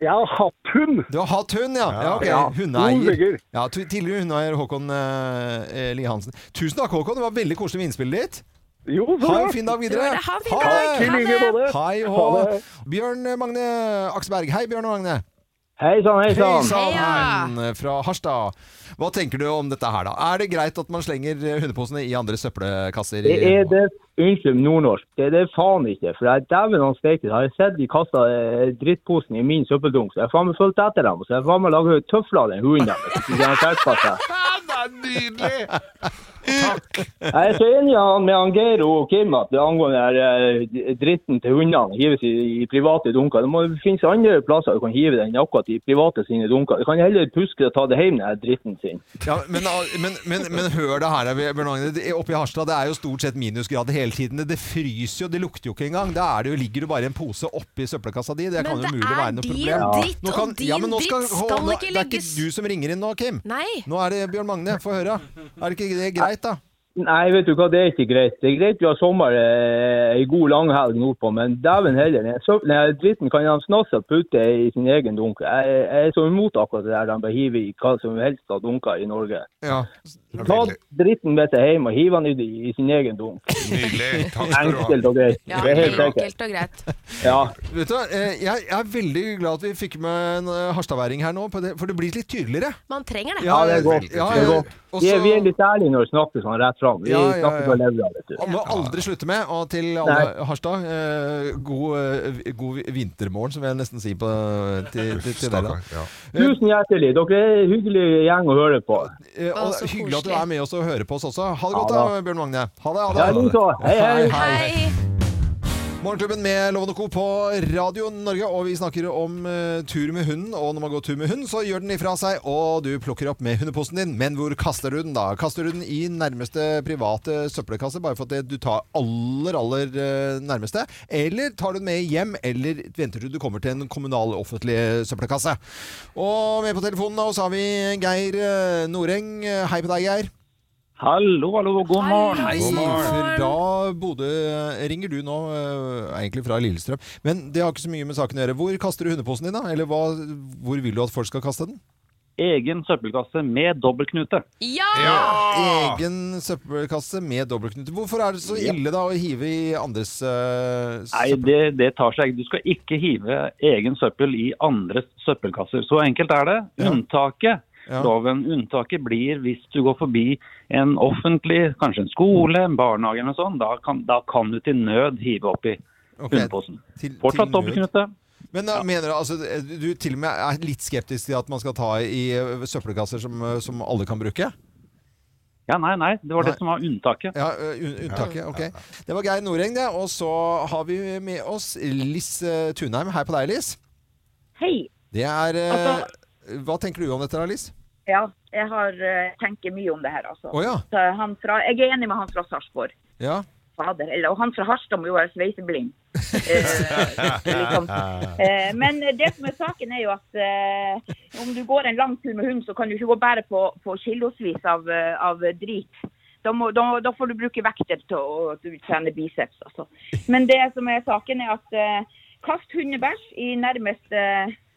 Speaker 6: Jeg har hatt hund.
Speaker 1: Du har hatt hund, ja? Ja, ok.
Speaker 6: Ja, to
Speaker 1: Hundeeier.
Speaker 6: stykker.
Speaker 1: Ja, tu- tidligere hundeeier Håkon eh, Lie Hansen. Tusen takk, Håkon. Det var veldig koselig med innspillet ditt.
Speaker 6: Jo, så
Speaker 1: Ha en
Speaker 6: bra.
Speaker 1: fin dag videre.
Speaker 3: Ja, ha en fin
Speaker 1: Ha
Speaker 3: dag.
Speaker 6: I
Speaker 1: det.
Speaker 6: like måte.
Speaker 1: Hei
Speaker 6: Ha
Speaker 1: hå.
Speaker 6: det.
Speaker 1: Bjørn Magne Aksberg. Hei, Bjørn Magne.
Speaker 6: Hei sann, hei
Speaker 1: Hei
Speaker 6: sann.
Speaker 1: sann, fra Harstad. Hva tenker du om dette her, da? Er det greit at man slenger hundeposene i andre søppelkasser?
Speaker 8: Det er det Unnskyld nordnorsk. Det er det faen ikke. For jeg dæven han steike. Har jeg sett de kasta eh, drittposen i min søppeldunk, så jeg har faen meg fulgt etter dem. Så jeg har faen meg laga tøfler av den hunden deres. hvis ikke de har skjerpet
Speaker 2: (laughs)
Speaker 8: seg.
Speaker 2: det er nydelig!
Speaker 8: Jeg er så enig med han- med han Geir og Kim at det angående her, eh, dritten til hundene hives i, i private dunker. Det må finnes andre plasser du kan hive den enn akkurat i private sine dunker. Du kan heller puske og ta det hjem, den her dritten sin.
Speaker 1: Ja, men, men, men, men hør det her, Bjørn Magne. Det- Oppe i Harstad det er jo stort sett minusgrader hele tiden. Det fryser jo, det lukter jo ikke engang. Da er det jo, ligger det bare en pose oppi søppelkassa di. Det
Speaker 3: Men
Speaker 1: kan jo
Speaker 3: det
Speaker 1: mulig være
Speaker 3: er
Speaker 1: noe
Speaker 3: din
Speaker 1: problem.
Speaker 3: dritt,
Speaker 1: Nå
Speaker 3: og
Speaker 1: ja,
Speaker 3: din
Speaker 1: men nå skal,
Speaker 3: dritt
Speaker 1: hold-
Speaker 3: skal
Speaker 1: nå,
Speaker 3: ikke
Speaker 1: Det er ikke
Speaker 3: legges-
Speaker 1: du som ringer inn nå, Kim.
Speaker 3: Nei.
Speaker 1: Nå er det Bjørn Magne. Få høre. Er det ikke det greit, da?
Speaker 8: Nei, vet du hva, det er ikke greit. Det er greit vi har sommer eh, ei god langhelg nordpå, men dæven heller. Den sø- den her dritten kan han snasse putte i sin egen dunk. Jeg, jeg er så imot akkurat det der de bare hiver i hva som helst av dunker i Norge.
Speaker 1: Ja.
Speaker 8: Ta dritten med seg hjem og hiv han i, i sin egen dunk.
Speaker 2: Nydelig. Takk skal du ha.
Speaker 8: Enkelt og greit.
Speaker 3: Ja,
Speaker 8: Det er helt enkelt.
Speaker 3: enkelt og greit.
Speaker 8: Ja.
Speaker 1: Vet du, hva, eh, jeg jeg er veldig glad at vi fikk med en eh, harstadværing her nå, på det- for det blir litt tydeligere.
Speaker 3: Man trenger det.
Speaker 8: Ja, det er godt.
Speaker 1: Ja,
Speaker 8: Det er
Speaker 1: ja.
Speaker 8: godt.
Speaker 1: Og
Speaker 8: Vi er, vi er
Speaker 1: så
Speaker 8: litt ærlige når vi snakker sånn rett fram. Vi
Speaker 1: Ja, ja,
Speaker 8: snakker
Speaker 1: ja.
Speaker 8: fra levra, vet du.
Speaker 1: og må aldri slutte med. Og til alle Harstad, eh, god, eh, god vintermorgen, som jeg nesten sier på, til, til, til dere.
Speaker 2: Stakkar. Ja.
Speaker 8: Tusen hjertelig. Dere er en hyggelig gjeng å høre på.
Speaker 1: Eh,
Speaker 3: Å,
Speaker 1: Og
Speaker 3: så
Speaker 1: hyggelig at du
Speaker 3: koselig.
Speaker 1: er med oss og hører på oss også. Ha det godt,
Speaker 8: Ja,
Speaker 1: da, Bjørn Magne. Ha det. Ha
Speaker 8: Ja,
Speaker 1: det.
Speaker 8: likeså. Hei, hei.
Speaker 3: Hei.
Speaker 1: Morgenklubben med Loven og Co. på Radio Norge, og vi snakker om eh, tur med hunden. Og når man går tur med hund, så gjør den ifra seg, og du plukker opp med hundeposen din. Men hvor kaster du den, da? Kaster du den i nærmeste private søppelkasse, bare for at det du tar aller, aller eh, nærmeste? Eller tar du den med hjem, eller venter du du kommer til en kommunal, offentlig søppelkasse? Og med på telefonen nå så har vi Geir eh, Noreng. Hei på deg, Geir.
Speaker 8: Hallo, hallo. God morgen.
Speaker 1: Hei,
Speaker 2: God morgen.
Speaker 1: fra Bodø ringer du nå, eh, egentlig fra Lillestrøm. Men det har ikke så mye med saken å gjøre. Hvor kaster du hundeposen din, da? Eller hva, hvor vil du at folk skal kaste den?
Speaker 8: Egen søppelkasse med dobbeltknute.
Speaker 3: Ja!
Speaker 2: Ja!
Speaker 1: Egen søppelkasse med dobbeltknute. Hvorfor er det så ille da å hive i andres eh,
Speaker 8: Nei,
Speaker 1: søppel?
Speaker 8: det, det tar seg ikke. Du skal ikke hive egen søppel i andres søppelkasser. Så enkelt er det.
Speaker 1: Ja.
Speaker 8: Unntaket.
Speaker 1: Ja.
Speaker 8: Loven. Unntaket blir hvis du går forbi en offentlig, kanskje en skole, en barnehage eller noe sånt. Da kan, da kan du til nød hive oppi
Speaker 1: Ok,
Speaker 8: hundeposen.
Speaker 1: til- til
Speaker 8: Fortsatt
Speaker 1: nød.
Speaker 8: dobbeltknute.
Speaker 1: Men da mener du altså Du til og med er litt skeptisk til at man skal ta i eh, søppelkasser som, eh, som alle kan bruke?
Speaker 8: Ja, nei, nei. Det var
Speaker 1: Nei.
Speaker 8: det som var unntaket.
Speaker 1: Ja, ø, un- unntaket. Ok. Det var Geir Noreng, det. Og så har vi med oss Liss eh, Tunheim. Hei på deg, Liss.
Speaker 9: Hei.
Speaker 1: Det er eh,
Speaker 9: Altså-
Speaker 1: Hva tenker du om dette, da, Liss?
Speaker 9: Ja, jeg har eh, tenker mye om det her, altså.
Speaker 1: Å ja.
Speaker 9: Så han fra, jeg er enig med han fra Sarpsborg.
Speaker 1: ja.
Speaker 9: fader heller. Og han fra Harstad må jo være sveiseblind. Eh, liksom. Eh, Men det som er saken er jo at eh, om du går en lang tur med hund, så kan du ikke gå bare på, på kilosvis av, eh, av drit. Da, må, da, da får du bruke vekter til å til å trene biceps. Altså. Men det som er saken er at eh, kast hundebæsj i nærmeste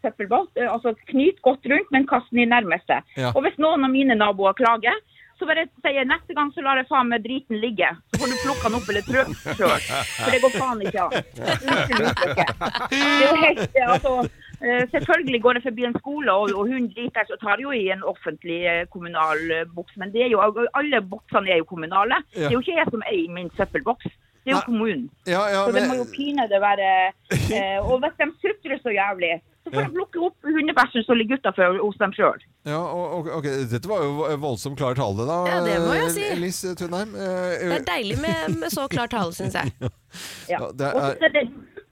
Speaker 9: søppelbåt. Eh, Altså knyt godt rundt, men kast den i nærmeste.
Speaker 10: Ja.
Speaker 9: Og hvis noen av mine naboer klager, så bare sier jeg neste gang så lar jeg faen meg driten ligge. Så får du plukke den opp eller trø sjøl. For det går faen ikke an. Unnskyld uttrykket. Det er jo helt, eh, altså, eh, selvfølgelig går jeg forbi en skole, og, og hun driter seg og tar jo i en offentlig eh, kommunal eh, boks. Men det er jo, alle boksene er jo kommunale.
Speaker 1: Ja.
Speaker 9: Det er jo ikke jeg som eier min søppelboks. Det er jo kommunen.
Speaker 1: Ja, ja,
Speaker 9: så det må
Speaker 1: men-
Speaker 9: jo pinadø være eh, Og hvis de sutrer så jævlig, så får
Speaker 1: Ja.
Speaker 9: de plukke opp hundebæsjen som ligger utafor hos dem sjøl.
Speaker 1: Ja, og, og, ok, Dette var jo voldsomt klar tale, da.
Speaker 9: Ja, det må jeg si.
Speaker 1: eh, Liss Tunheim.
Speaker 3: Det er deilig med, med så klar tale, syns jeg.
Speaker 9: Ja.
Speaker 1: Eh, Ja, det er-
Speaker 9: Og så er det,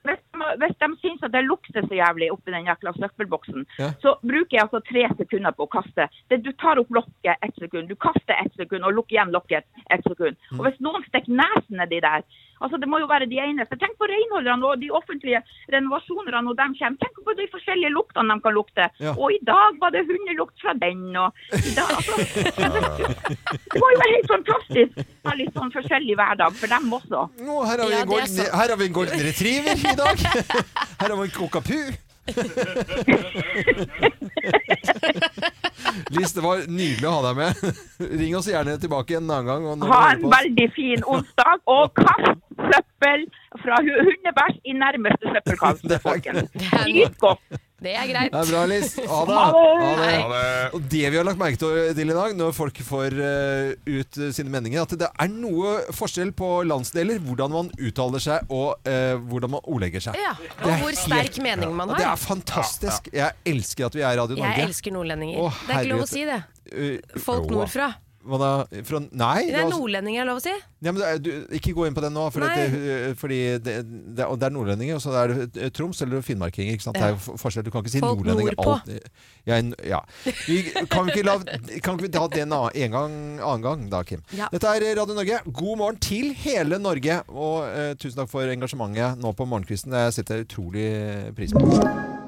Speaker 9: hvis, de- hvis de syns at det lukter så jævlig oppi den jækla søppelboksen,
Speaker 1: Ja.
Speaker 9: så bruker jeg altså tre sekunder på å kaste. Det, du tar opp lokket ett sekund, du kaster ett sekund og lukker igjen lokket ett sekund. Og hvis noen stikker nesen nedi der Altså, Det må jo være de eneste. Tenk på renholderne og de offentlige renovasjonerne når de kommer. Tenk på de forskjellige luktene de kan lukte.
Speaker 10: Ja.
Speaker 9: Og i dag var det hundelukt fra den, og i dag,
Speaker 1: (laughs)
Speaker 9: altså, Det var jo helt fantastisk. Ha litt sånn forskjellig hverdag for dem også.
Speaker 1: Nå, her har vi, en golden, her har vi en golden retriever i dag. (laughs) Her har vi en kokapu. Liss, det var nydelig å ha deg med. Ring oss gjerne tilbake en annen gang. og når du
Speaker 9: Ha
Speaker 1: hører
Speaker 9: en
Speaker 1: på oss.
Speaker 9: veldig fin onsdag, og kast søppel fra hu- hundebæsj i nærmeste søppelkasse, folkens. Nyt godt.
Speaker 3: Det er greit.
Speaker 1: Det er bra, Liss. Ha det.
Speaker 9: Ha det.
Speaker 1: Og det vi har lagt merke til i dag, når folk får eh, ut eh, sine meninger, at det er noe forskjell på landsdeler, hvordan man uttaler seg og eh, hvordan man ordlegger seg.
Speaker 3: Ja,
Speaker 1: Det
Speaker 3: og
Speaker 1: er
Speaker 3: hvor
Speaker 1: helt-
Speaker 3: sterk mening man
Speaker 1: Ja,
Speaker 3: har.
Speaker 1: Det er fantastisk. Jeg elsker at vi er i Radio Norge.
Speaker 3: Jeg elsker nordlendinger.
Speaker 1: Å,
Speaker 3: det er ikke lov å si det.
Speaker 1: herregud. Uh,
Speaker 3: Folk
Speaker 1: jo,
Speaker 3: nordfra.
Speaker 1: Hva da? Fra, nei, altså-
Speaker 3: Det
Speaker 1: la
Speaker 3: er
Speaker 1: oss-
Speaker 3: nordlendinger, er det lov å si?
Speaker 1: ja, men det er, du, ikke gå inn på den nå, for
Speaker 3: Nei.
Speaker 1: at det, uh, fordi det, det, og det er nordlendinger, og så er det uh, Troms eller finnmarkinger. Ikke sant? Det er jo f- forskjell. Du kan ikke si
Speaker 3: Folk
Speaker 1: nordlendinger
Speaker 3: nordpå.
Speaker 1: alltid. Ja, en- ja. Vi, kan, vi ikke la, kan vi ikke ta det en annen, en gang, annen gang, da, Kim?
Speaker 11: Ja.
Speaker 1: Dette er Radio Norge. God morgen til hele Norge. Og uh, tusen takk for engasjementet nå på morgenkvisten. Det setter jeg utrolig pris på.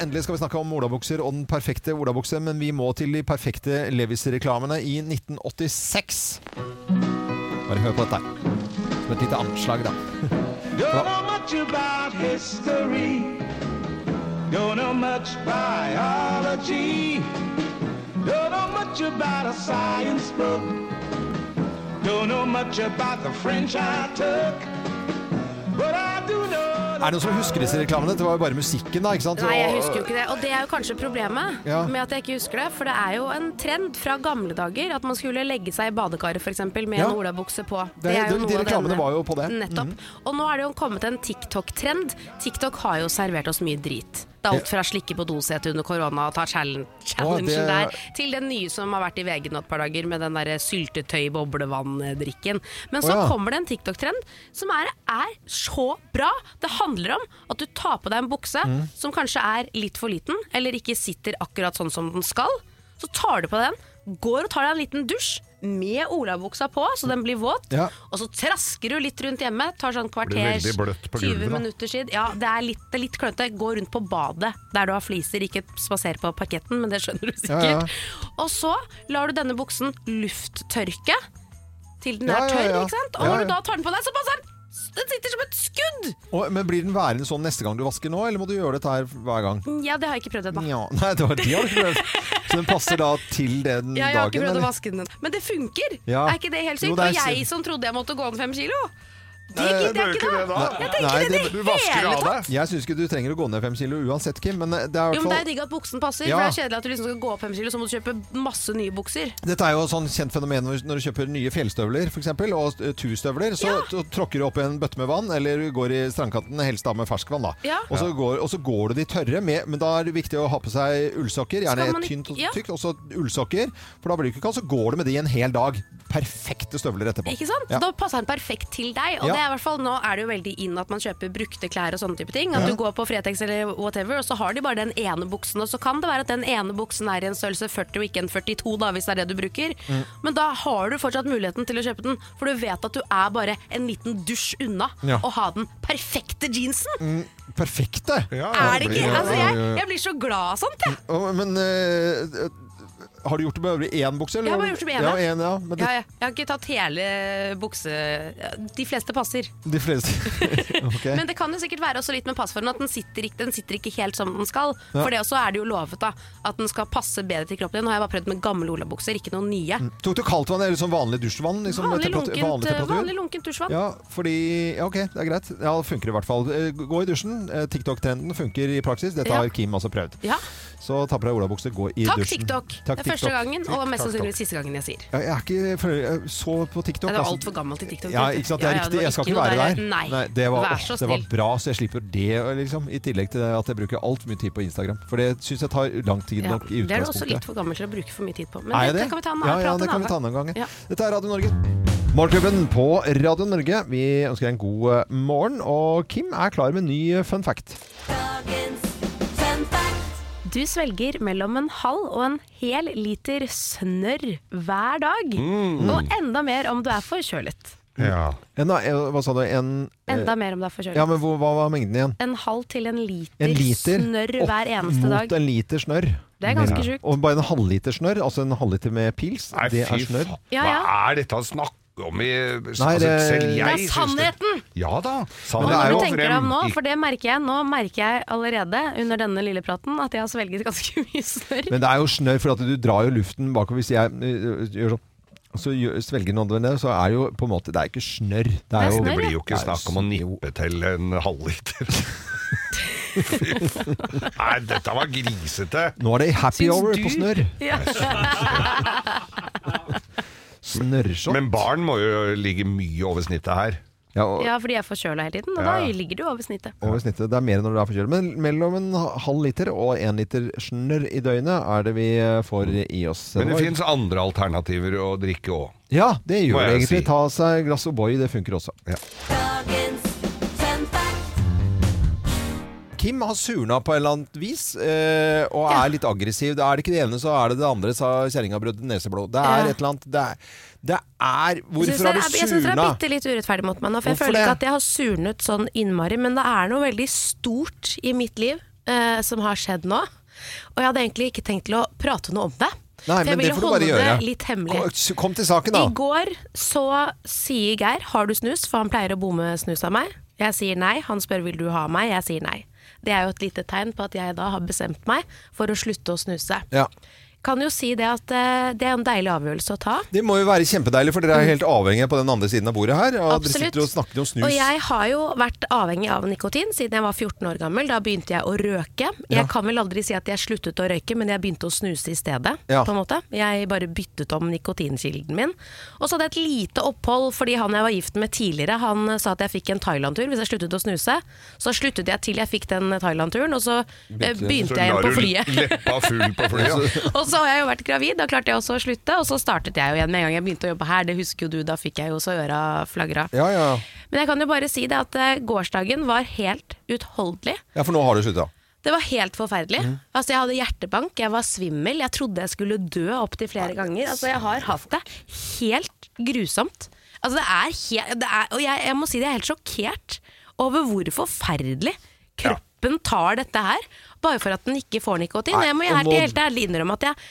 Speaker 1: Endelig skal vi snakke om olabukser og den perfekte olabukse, men vi må til de perfekte Levis-reklamene i 1986. Bare hør på dette her. Som et lite anslag, da.
Speaker 10: Don't know much about history. Don't know much biology. Don't know much about a science book. Don't know much about the French I took. But I do know.
Speaker 1: Er det noen som husker disse reklamene? Det var jo bare musikken, da. ikke sant?
Speaker 3: Nei, jeg husker jo ikke det. Og det er jo kanskje problemet
Speaker 1: Altså- Ja.
Speaker 3: med at jeg ikke husker det. For det er jo en trend fra gamle dager at man skulle legge seg i badekaret f.eks. med
Speaker 1: Ja.
Speaker 3: en olabukse på.
Speaker 1: Det er- de- de
Speaker 3: av
Speaker 1: reklamene
Speaker 3: denne-
Speaker 1: var jo på det. Mhm.
Speaker 3: Nettopp. Og nå er det jo kommet en TikTok-trend. TikTok har jo servert oss mye drit. Det er alt fra slikke på dosetet under korona og ta challenge, challengen
Speaker 10: det-
Speaker 3: der, til den nye som har vært i VG nå et par dager med den derre syltetøy-boblevann-drikken. Men så
Speaker 10: Å, ja.
Speaker 3: kommer det en TikTok-trend som er, er så bra. Det handler om at du tar på deg en bukse
Speaker 10: Mm.
Speaker 3: som kanskje er litt for liten, eller ikke sitter akkurat sånn som den skal. Så tar du på den, går og tar deg en liten dusj med olabuksa på, så den blir våt.
Speaker 10: Ja.
Speaker 3: Og så trasker du litt rundt hjemme, tar sånn kvarters
Speaker 10: Blir veldig bløtt på
Speaker 3: 20
Speaker 10: gulvet, da.
Speaker 3: minutter siden. Ja, det er litt, det er litt klønete. Gå rundt på badet der du har fliser, ikke spaser på parketten, men det skjønner du
Speaker 10: Ja,
Speaker 3: sikkert.
Speaker 10: ja.
Speaker 3: Og så lar du denne buksen lufttørke til den
Speaker 1: Ja,
Speaker 3: er
Speaker 1: ja,
Speaker 3: tørr,
Speaker 1: ja.
Speaker 3: ikke sant? Og
Speaker 1: Ja,
Speaker 3: når
Speaker 1: ja.
Speaker 3: du da tar den på deg, så passer den! Den sitter som et skudd!
Speaker 1: Og, men Blir den værende sånn neste gang du vasker nå, eller må du gjøre dette her hver gang?
Speaker 3: Ja, det har jeg ikke prøvd ennå.
Speaker 1: Ja, (laughs) nei, det var de hadde ikke prøvd. Så den passer da til den
Speaker 3: Ja, jeg har ikke
Speaker 1: dagen?
Speaker 3: prøvd
Speaker 1: eller?
Speaker 3: å vaske den. Men det funker!
Speaker 1: Ja.
Speaker 3: Er ikke det helt sykt?
Speaker 1: Jo, det er
Speaker 3: Og jeg
Speaker 1: sykt.
Speaker 3: som trodde jeg måtte gå ned fem kilo! Det
Speaker 1: Nei,
Speaker 3: gidder jeg ikke da! Jeg tenker
Speaker 1: Nei,
Speaker 3: det, det, det hele tatt!
Speaker 1: Jeg syns ikke du trenger å gå ned fem kilo uansett, Kim, men det er i hvert
Speaker 3: Jo, men Det
Speaker 1: fall
Speaker 3: er digg at buksen passer,
Speaker 1: Ja.
Speaker 3: for det er kjedelig at du liksom skal gå opp fem kilo, så må du kjøpe masse nye bukser.
Speaker 1: dette er jo et sånn kjent fenomen når når du kjøper nye fjellstøvler for eksempel, og eh, turstøvler. Så t- tråkker du opp i en bøtte med vann, eller du går i strandkanten, helst da med ferskvann. da.
Speaker 10: Ja.
Speaker 1: Og, så går, og så går du de tørre, med, men da er det viktig å ha på seg ullsokker.
Speaker 10: Skal
Speaker 1: Gjerne
Speaker 10: man ikke-
Speaker 1: tynt og
Speaker 10: ja.
Speaker 1: tykt, og så ullsokker. For da blir det ikke kaldt, så går du med de en hel dag. perfekte støvler etterpå.
Speaker 3: Ikke sant?
Speaker 1: Ja.
Speaker 3: Da passer den perfekt til deg. Og
Speaker 1: Ja.
Speaker 3: det er i hvert fall, Nå er det jo veldig inn at man kjøper brukte klær og sånne type ting. At
Speaker 1: Ja.
Speaker 3: du går på Fretex eller whatever, og så har de bare den ene buksen. Og så kan det være at den ene buksen er i en størrelse 40 og ikke en 42, da, hvis det er det du bruker.
Speaker 8: Mm.
Speaker 3: Men da har du fortsatt muligheten til å kjøpe den, for du vet at du er bare en liten dusj unna
Speaker 1: Ja.
Speaker 3: å ha den perfekte jeansen.
Speaker 1: Mm, perfekte! Mm,
Speaker 3: er det ikke? Altså, jeg, jeg blir så glad av sånt, jeg.
Speaker 1: Å, Men eh, har du gjort det med én bukse? eller?
Speaker 3: Jeg har bare gjort det med ene.
Speaker 1: Ja, en, ja. Men det,
Speaker 3: Ja, ja. Jeg har ikke tatt hele bukse... De fleste passer.
Speaker 1: de fleste (laughs) Ok.
Speaker 3: (laughs) Men det kan jo sikkert være også litt med passformen at den sitter ikke, den sitter ikke helt som den skal.
Speaker 1: Ja.
Speaker 3: For det også er det jo lovet da, at den skal passe bedre til kroppen din. Nå har jeg bare prøvd med gamle olabukser, ikke noen nye.
Speaker 1: Tok du kaldt vann eller sånn Mm. vanlig dusjvann? Liksom,
Speaker 3: Vanlig,
Speaker 1: temperat-
Speaker 3: lunkent,
Speaker 1: temperatur?
Speaker 3: vanlig lunkent dusjvann.
Speaker 1: Ja, fordi Ja, OK, det er greit. Ja, det funker i hvert fall. Eh, Gå i dusjen. Eh, TikTok-trenden funker i praksis. Dette har
Speaker 3: Ja.
Speaker 1: Kim også prøvd.
Speaker 3: Ja.
Speaker 1: Så ta på deg olabukse, gå i
Speaker 3: Takk,
Speaker 1: dusjen.
Speaker 3: TikTok. det er første gangen, og mest sannsynligvis siste gangen jeg sier.
Speaker 1: Ja, Jeg er ikke føl- jeg så på TikTok.
Speaker 3: Nei, det var
Speaker 1: altså.
Speaker 3: altfor gammelt til TikTok.
Speaker 1: Ja, ikke sant, det er
Speaker 3: Ja, ja, det
Speaker 1: riktig.
Speaker 3: var
Speaker 1: Jeg skal
Speaker 3: ikke
Speaker 1: ikke
Speaker 3: noe
Speaker 1: være
Speaker 3: der.
Speaker 1: der.
Speaker 3: Nei.
Speaker 1: det var,
Speaker 3: Vær så
Speaker 1: åh, det var
Speaker 3: snill.
Speaker 1: bra, så jeg slipper det, liksom. I tillegg til at jeg bruker altfor mye tid på Instagram. For det syns jeg tar lang tid
Speaker 3: Ja.
Speaker 1: nok i
Speaker 3: Det er du også litt
Speaker 1: utgangspunktet.
Speaker 3: for gammel til å bruke for mye tid på. Men
Speaker 1: Er jeg
Speaker 3: dette
Speaker 1: det?
Speaker 3: kan vi ta en
Speaker 1: Ja,
Speaker 3: annen
Speaker 1: ja,
Speaker 3: prat
Speaker 1: det
Speaker 3: en
Speaker 1: kan vi ta en annen
Speaker 3: annen
Speaker 1: gang.
Speaker 3: gang.
Speaker 1: ja. Dette er Radio Norge. Morgenklubben på Radio Norge. Vi ønsker deg en god eh, morgen, og Kim er klar med ny eh, fun fact.
Speaker 3: Du svelger mellom en halv og en hel liter snørr hver dag.
Speaker 1: Mm.
Speaker 3: Og enda mer om du er forkjølet.
Speaker 1: En, eh, hva sa du? En eh,
Speaker 3: Enda mer om du er forkjølet.
Speaker 1: Ja, men hvor, hva var mengden igjen?
Speaker 3: En halv til en liter,
Speaker 1: En liter
Speaker 3: snørr
Speaker 1: opp
Speaker 3: hver eneste dag.
Speaker 1: mot en liter snørr.
Speaker 3: Det er ganske sjukt.
Speaker 1: Og bare en halvliter snørr, altså en halvliter med pils,
Speaker 2: Nei,
Speaker 1: det er
Speaker 2: fy
Speaker 1: snørr.
Speaker 2: faen.
Speaker 3: Ja, ja.
Speaker 2: Hva er dette han snakker om i
Speaker 1: Nei,
Speaker 2: altså,
Speaker 1: det-
Speaker 2: Selv jeg
Speaker 3: Det er
Speaker 2: synes
Speaker 3: sannheten!
Speaker 2: Ja da.
Speaker 1: Men
Speaker 3: Og
Speaker 1: det er
Speaker 3: når
Speaker 1: jo
Speaker 3: du tenker deg om nå,
Speaker 2: i-
Speaker 3: for det merker jeg nå merker jeg allerede under denne lille praten at jeg har svelget ganske (laughs) mye snørr.
Speaker 1: Men det er jo snørr, for at du drar jo luften bakover. Hvis jeg øh, gjør sånn så gjør- svelger noen det, så er jo på en måte Det er ikke snørr. Det er jo
Speaker 2: Det blir jo ikke snakk om å nippe til en halvliter. Fy faen. Nei, dette var grisete.
Speaker 1: Nå er det happy
Speaker 2: Syns
Speaker 1: hour
Speaker 2: du?
Speaker 1: på snørr.
Speaker 3: Ja.
Speaker 1: Snørrshot.
Speaker 2: Men barn må jo ligge mye over snittet her.
Speaker 1: Ja,
Speaker 3: ja, fordi jeg er forkjøla hele tiden, og
Speaker 2: Ja.
Speaker 3: da ligger du over snittet.
Speaker 1: Over snittet. Det er mer når du er forkjølet. Men mellom en halv liter og en liter snørr i døgnet er det vi eh, får i oss.
Speaker 2: Mm. Men det fins andre alternativer å drikke òg.
Speaker 1: Ja, det
Speaker 2: Må
Speaker 1: gjør det
Speaker 2: jeg
Speaker 1: egentlig.
Speaker 2: si.
Speaker 1: Ta seg et glass O'boy, det funker også. Kim har surna på et eller annet vis eh, og er litt aggressiv. Det er det ikke det ene, så er det det andre, sa kjerringa brød neseblod. Det
Speaker 3: Ja.
Speaker 1: er et eller annet Det er, det er Hvorfor har du
Speaker 8: Jeg syns
Speaker 1: surna?
Speaker 8: dere er bitte litt urettferdig mot meg nå, for jeg
Speaker 1: Hvorfor
Speaker 8: føler
Speaker 1: det?
Speaker 8: ikke at jeg har surnet sånn innmari, men det er noe veldig stort i mitt liv eh, som har skjedd nå. Og jeg hadde egentlig ikke tenkt til å prate noe om det.
Speaker 1: Nei, men
Speaker 8: for jeg
Speaker 1: det
Speaker 8: ville
Speaker 1: får du bare
Speaker 8: holde
Speaker 1: gjøre.
Speaker 8: det litt hemmelig.
Speaker 1: Kom, kom til saken, da.
Speaker 8: I går så sier Geir 'har du snus', for han pleier å bomme snus av meg. Jeg sier nei, han spør 'vil du ha meg', jeg sier nei. Det er jo et lite tegn på at jeg da har bestemt meg for å slutte å snuse.
Speaker 1: Ja.
Speaker 8: Kan jo si det at eh, det er en deilig avgjørelse å ta.
Speaker 1: Det må jo være kjempedeilig, for dere er helt avhengige på den andre siden av bordet her. Og dere
Speaker 8: Absolutt.
Speaker 1: sitter og snakker om snus.
Speaker 8: Og jeg har jo vært avhengig av nikotin siden jeg var 14 år gammel. Da begynte jeg å røke.
Speaker 1: Ja.
Speaker 8: Jeg kan vel aldri si at jeg sluttet å røyke, men jeg begynte å snuse i stedet.
Speaker 1: Ja.
Speaker 8: på en måte. Jeg bare byttet om nikotinkilden min. Og så hadde jeg et lite opphold fordi han jeg var gift med tidligere, han eh, sa at jeg fikk en Thailand-tur hvis jeg sluttet å snuse. Så sluttet jeg til jeg fikk den Thailand-turen, og så eh, begynte jeg igjen på flyet.
Speaker 2: Leppa full på
Speaker 1: (laughs)
Speaker 2: flyet.
Speaker 1: sånn.
Speaker 8: Og så har jeg jo vært gravid, da klarte jeg også å slutte. Og så startet jeg jo igjen med en gang jeg begynte å jobbe her, det husker jo du, da fikk jeg jo så øra flagra.
Speaker 1: Ja, ja.
Speaker 8: Men jeg kan jo bare si det at eh, gårsdagen var helt utholdelig.
Speaker 1: ja, for nå har du slutta.
Speaker 8: Det var helt forferdelig.
Speaker 1: Mm.
Speaker 8: Altså, jeg hadde hjertebank, jeg var svimmel, jeg trodde jeg skulle dø opptil flere ganger. Altså, jeg har hatt det helt grusomt. Altså, det er helt, det er, og jeg, jeg må si det, jeg er helt sjokkert over hvor forferdelig kroppen tar dette her, bare for at den ikke får nikotin.
Speaker 1: Nei,
Speaker 8: Og jeg må
Speaker 1: og
Speaker 8: helt,
Speaker 1: må-
Speaker 8: helt ærlig innrømme at jeg,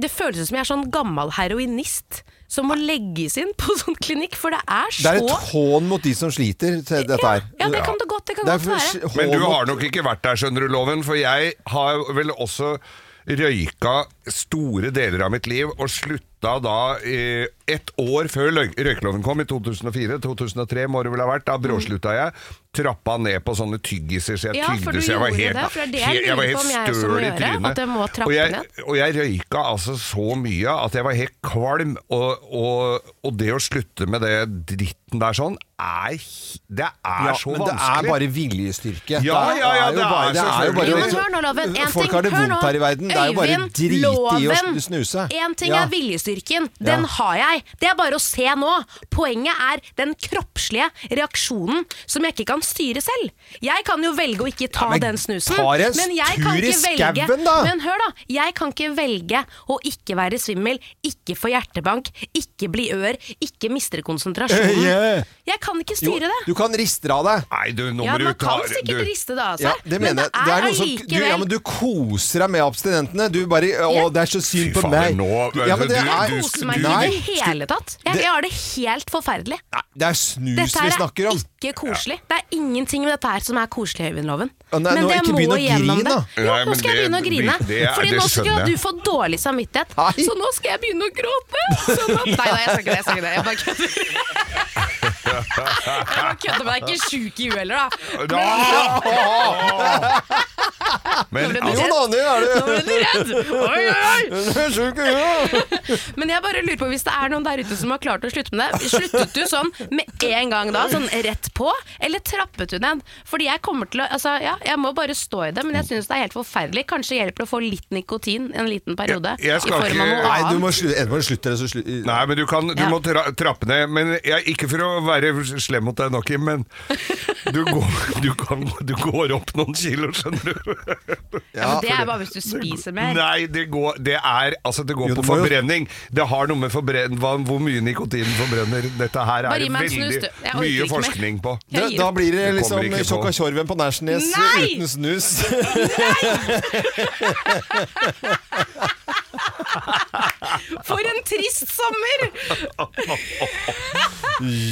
Speaker 8: det føles ut som jeg er sånn gammel heroinist som må legges inn på sånn klinikk, for det er
Speaker 1: Det
Speaker 8: så
Speaker 1: er et hån mot de som sliter, se, dette her.
Speaker 8: ja, det kan det godt, det kan
Speaker 1: er
Speaker 8: godt
Speaker 1: for-
Speaker 8: være.
Speaker 2: Men
Speaker 1: hån
Speaker 2: du
Speaker 1: mot-
Speaker 2: har nok ikke vært der, skjønner du, Loven, for jeg har vel også røyka store deler av mitt liv og slutta da eh, ett år før løy- røykeloven kom, i 2004-2003 må det vel ha vært. Da bråslutta jeg. Trappa ned på sånne tyggiser, så jeg
Speaker 8: Ja,
Speaker 2: tygde
Speaker 8: for du
Speaker 2: så jeg var
Speaker 8: gjorde
Speaker 2: helt,
Speaker 8: det, for det er det jeg
Speaker 2: helt- jeg var
Speaker 8: lurer på
Speaker 2: helt
Speaker 8: om jeg også må
Speaker 2: støl i
Speaker 8: gjøre, at
Speaker 2: trynet.
Speaker 8: jeg må trappe
Speaker 2: Og jeg,
Speaker 8: ned.
Speaker 2: og jeg røyka altså så mye at jeg var helt kvalm, og, og, og det å slutte med det dritten der sånn, er, hi- det er
Speaker 1: Ja,
Speaker 2: så
Speaker 1: men
Speaker 2: vanskelig.
Speaker 1: det er bare viljestyrke.
Speaker 2: Ja,
Speaker 1: det er
Speaker 2: ja, ja,
Speaker 1: jo
Speaker 2: det er
Speaker 1: bare, det er jo bare
Speaker 2: selvfølgelig.
Speaker 8: Men hør nå, Loven. En
Speaker 1: Folk
Speaker 8: ting,
Speaker 1: har det
Speaker 8: hør nå.
Speaker 1: vondt her i verden. Det er jo bare
Speaker 8: Øyvind,
Speaker 1: drit i å
Speaker 8: loven.
Speaker 1: sn- snuse.
Speaker 8: En ting
Speaker 1: Ja.
Speaker 8: er
Speaker 3: motstyrken, den har jeg. Det er bare å se nå. Poenget er den kroppslige reaksjonen som jeg ikke kan styre selv. Jeg kan jo velge å ikke ta
Speaker 1: men
Speaker 3: den snusen.
Speaker 1: tar en tur i skauen, da.
Speaker 3: Men hør, da. Jeg kan ikke velge å ikke være svimmel, ikke få hjertebank, ikke bli ør, ikke miste konsentrasjonen.
Speaker 1: Yeah.
Speaker 3: Jeg kan ikke
Speaker 1: Eh, Jo,
Speaker 3: styre det.
Speaker 1: du kan riste av deg.
Speaker 2: Nei, du, nå
Speaker 3: Ja,
Speaker 2: må du
Speaker 3: man
Speaker 2: ta
Speaker 3: kan
Speaker 2: du-
Speaker 3: sikkert riste det av
Speaker 1: Ja,
Speaker 3: seg,
Speaker 1: det
Speaker 3: men
Speaker 1: mener
Speaker 3: det
Speaker 1: jeg. Det er
Speaker 3: er
Speaker 1: noe som, du, ja, men
Speaker 3: allikevel
Speaker 1: du koser deg med abstinentene. Du bare Å, det er så synd
Speaker 2: Fy
Speaker 1: på
Speaker 2: fader,
Speaker 1: meg.
Speaker 2: nå-
Speaker 1: Du- ja, men det,
Speaker 2: du-
Speaker 1: er,
Speaker 2: du-
Speaker 3: Jeg koser meg
Speaker 1: Nei,
Speaker 3: ikke i det hele tatt. Jeg,
Speaker 1: det-
Speaker 3: jeg har det helt forferdelig.
Speaker 1: nei, det er snus
Speaker 3: Dette
Speaker 1: vi
Speaker 3: her
Speaker 1: snakker
Speaker 3: er
Speaker 1: om.
Speaker 3: ikke koselig. Det er ingenting med dette her som er koselig i Øyvindloven.
Speaker 1: Ja, nei, nå- ikke begynn å grine, da.
Speaker 3: Jo,
Speaker 2: Nei, men
Speaker 3: nå skal jeg
Speaker 2: det-
Speaker 3: begynne å grine.
Speaker 2: det- det er-
Speaker 3: Fordi
Speaker 2: det
Speaker 3: nå skal
Speaker 2: skjønner
Speaker 3: du
Speaker 2: jeg.
Speaker 3: få dårlig samvittighet.
Speaker 1: Nei.
Speaker 3: Så nå skal jeg begynne å gråte. Sånn
Speaker 1: (laughs)
Speaker 3: at... Nei, nei, jeg skal ikke det. Jeg skal ikke det. Jeg bare kødder. Jeg bare kødder, men jeg er ikke sjuk i huet heller, da.
Speaker 2: Da! Men
Speaker 3: Nå ble
Speaker 2: altså,
Speaker 1: Jo da, det er
Speaker 3: Nå ble
Speaker 1: det.
Speaker 3: du redd! Oi, oi, oi!
Speaker 1: Hun er sjuk i huet.
Speaker 3: Men jeg bare lurer på hvis det er noen der ute som har klart å slutte med det. Sluttet du sånn med en gang da, sånn rett på, eller trappet du ned? Fordi jeg kommer til å Altså, ja, jeg må bare stå i det, men jeg syns det er helt forferdelig. Kanskje hjelper det å få litt nikotin en liten periode.
Speaker 2: Jeg- jeg skal
Speaker 3: I form av
Speaker 2: ikke-
Speaker 3: noe
Speaker 1: Nei, du
Speaker 3: annet.
Speaker 1: må slutte. Enten må du slutte, eller så slutt-
Speaker 2: Nei, men du, kan, du
Speaker 3: Ja.
Speaker 2: må tra trappe ned. Men jeg, ikke for å være slem mot deg, Nokim, men du går, (laughs) du, kan, du går opp noen kilo, skjønner du.
Speaker 3: Ja, men det er bare hvis du spiser mer.
Speaker 2: Nei, det går, det er, altså, det går
Speaker 1: Jo,
Speaker 2: på
Speaker 1: det må jo-
Speaker 2: forbrenning. Det har noe med forbren hva, hvor mye nikotin forbrenner. Dette her
Speaker 3: Bare
Speaker 2: er
Speaker 3: gi
Speaker 2: det
Speaker 3: meg en snus,
Speaker 2: veldig
Speaker 3: du. Jeg orker
Speaker 2: mye
Speaker 3: ikke mer.
Speaker 2: forskning på.
Speaker 3: Jeg
Speaker 1: Da,
Speaker 3: gir
Speaker 1: da
Speaker 3: opp.
Speaker 1: blir det
Speaker 2: Du kommer
Speaker 1: liksom
Speaker 2: ikke på.
Speaker 1: tjokka tjorven på Nærsnes
Speaker 3: Nei!
Speaker 1: uten
Speaker 3: (laughs)
Speaker 1: snus.
Speaker 2: (laughs)
Speaker 3: For en trist
Speaker 2: (laughs)
Speaker 3: sommer!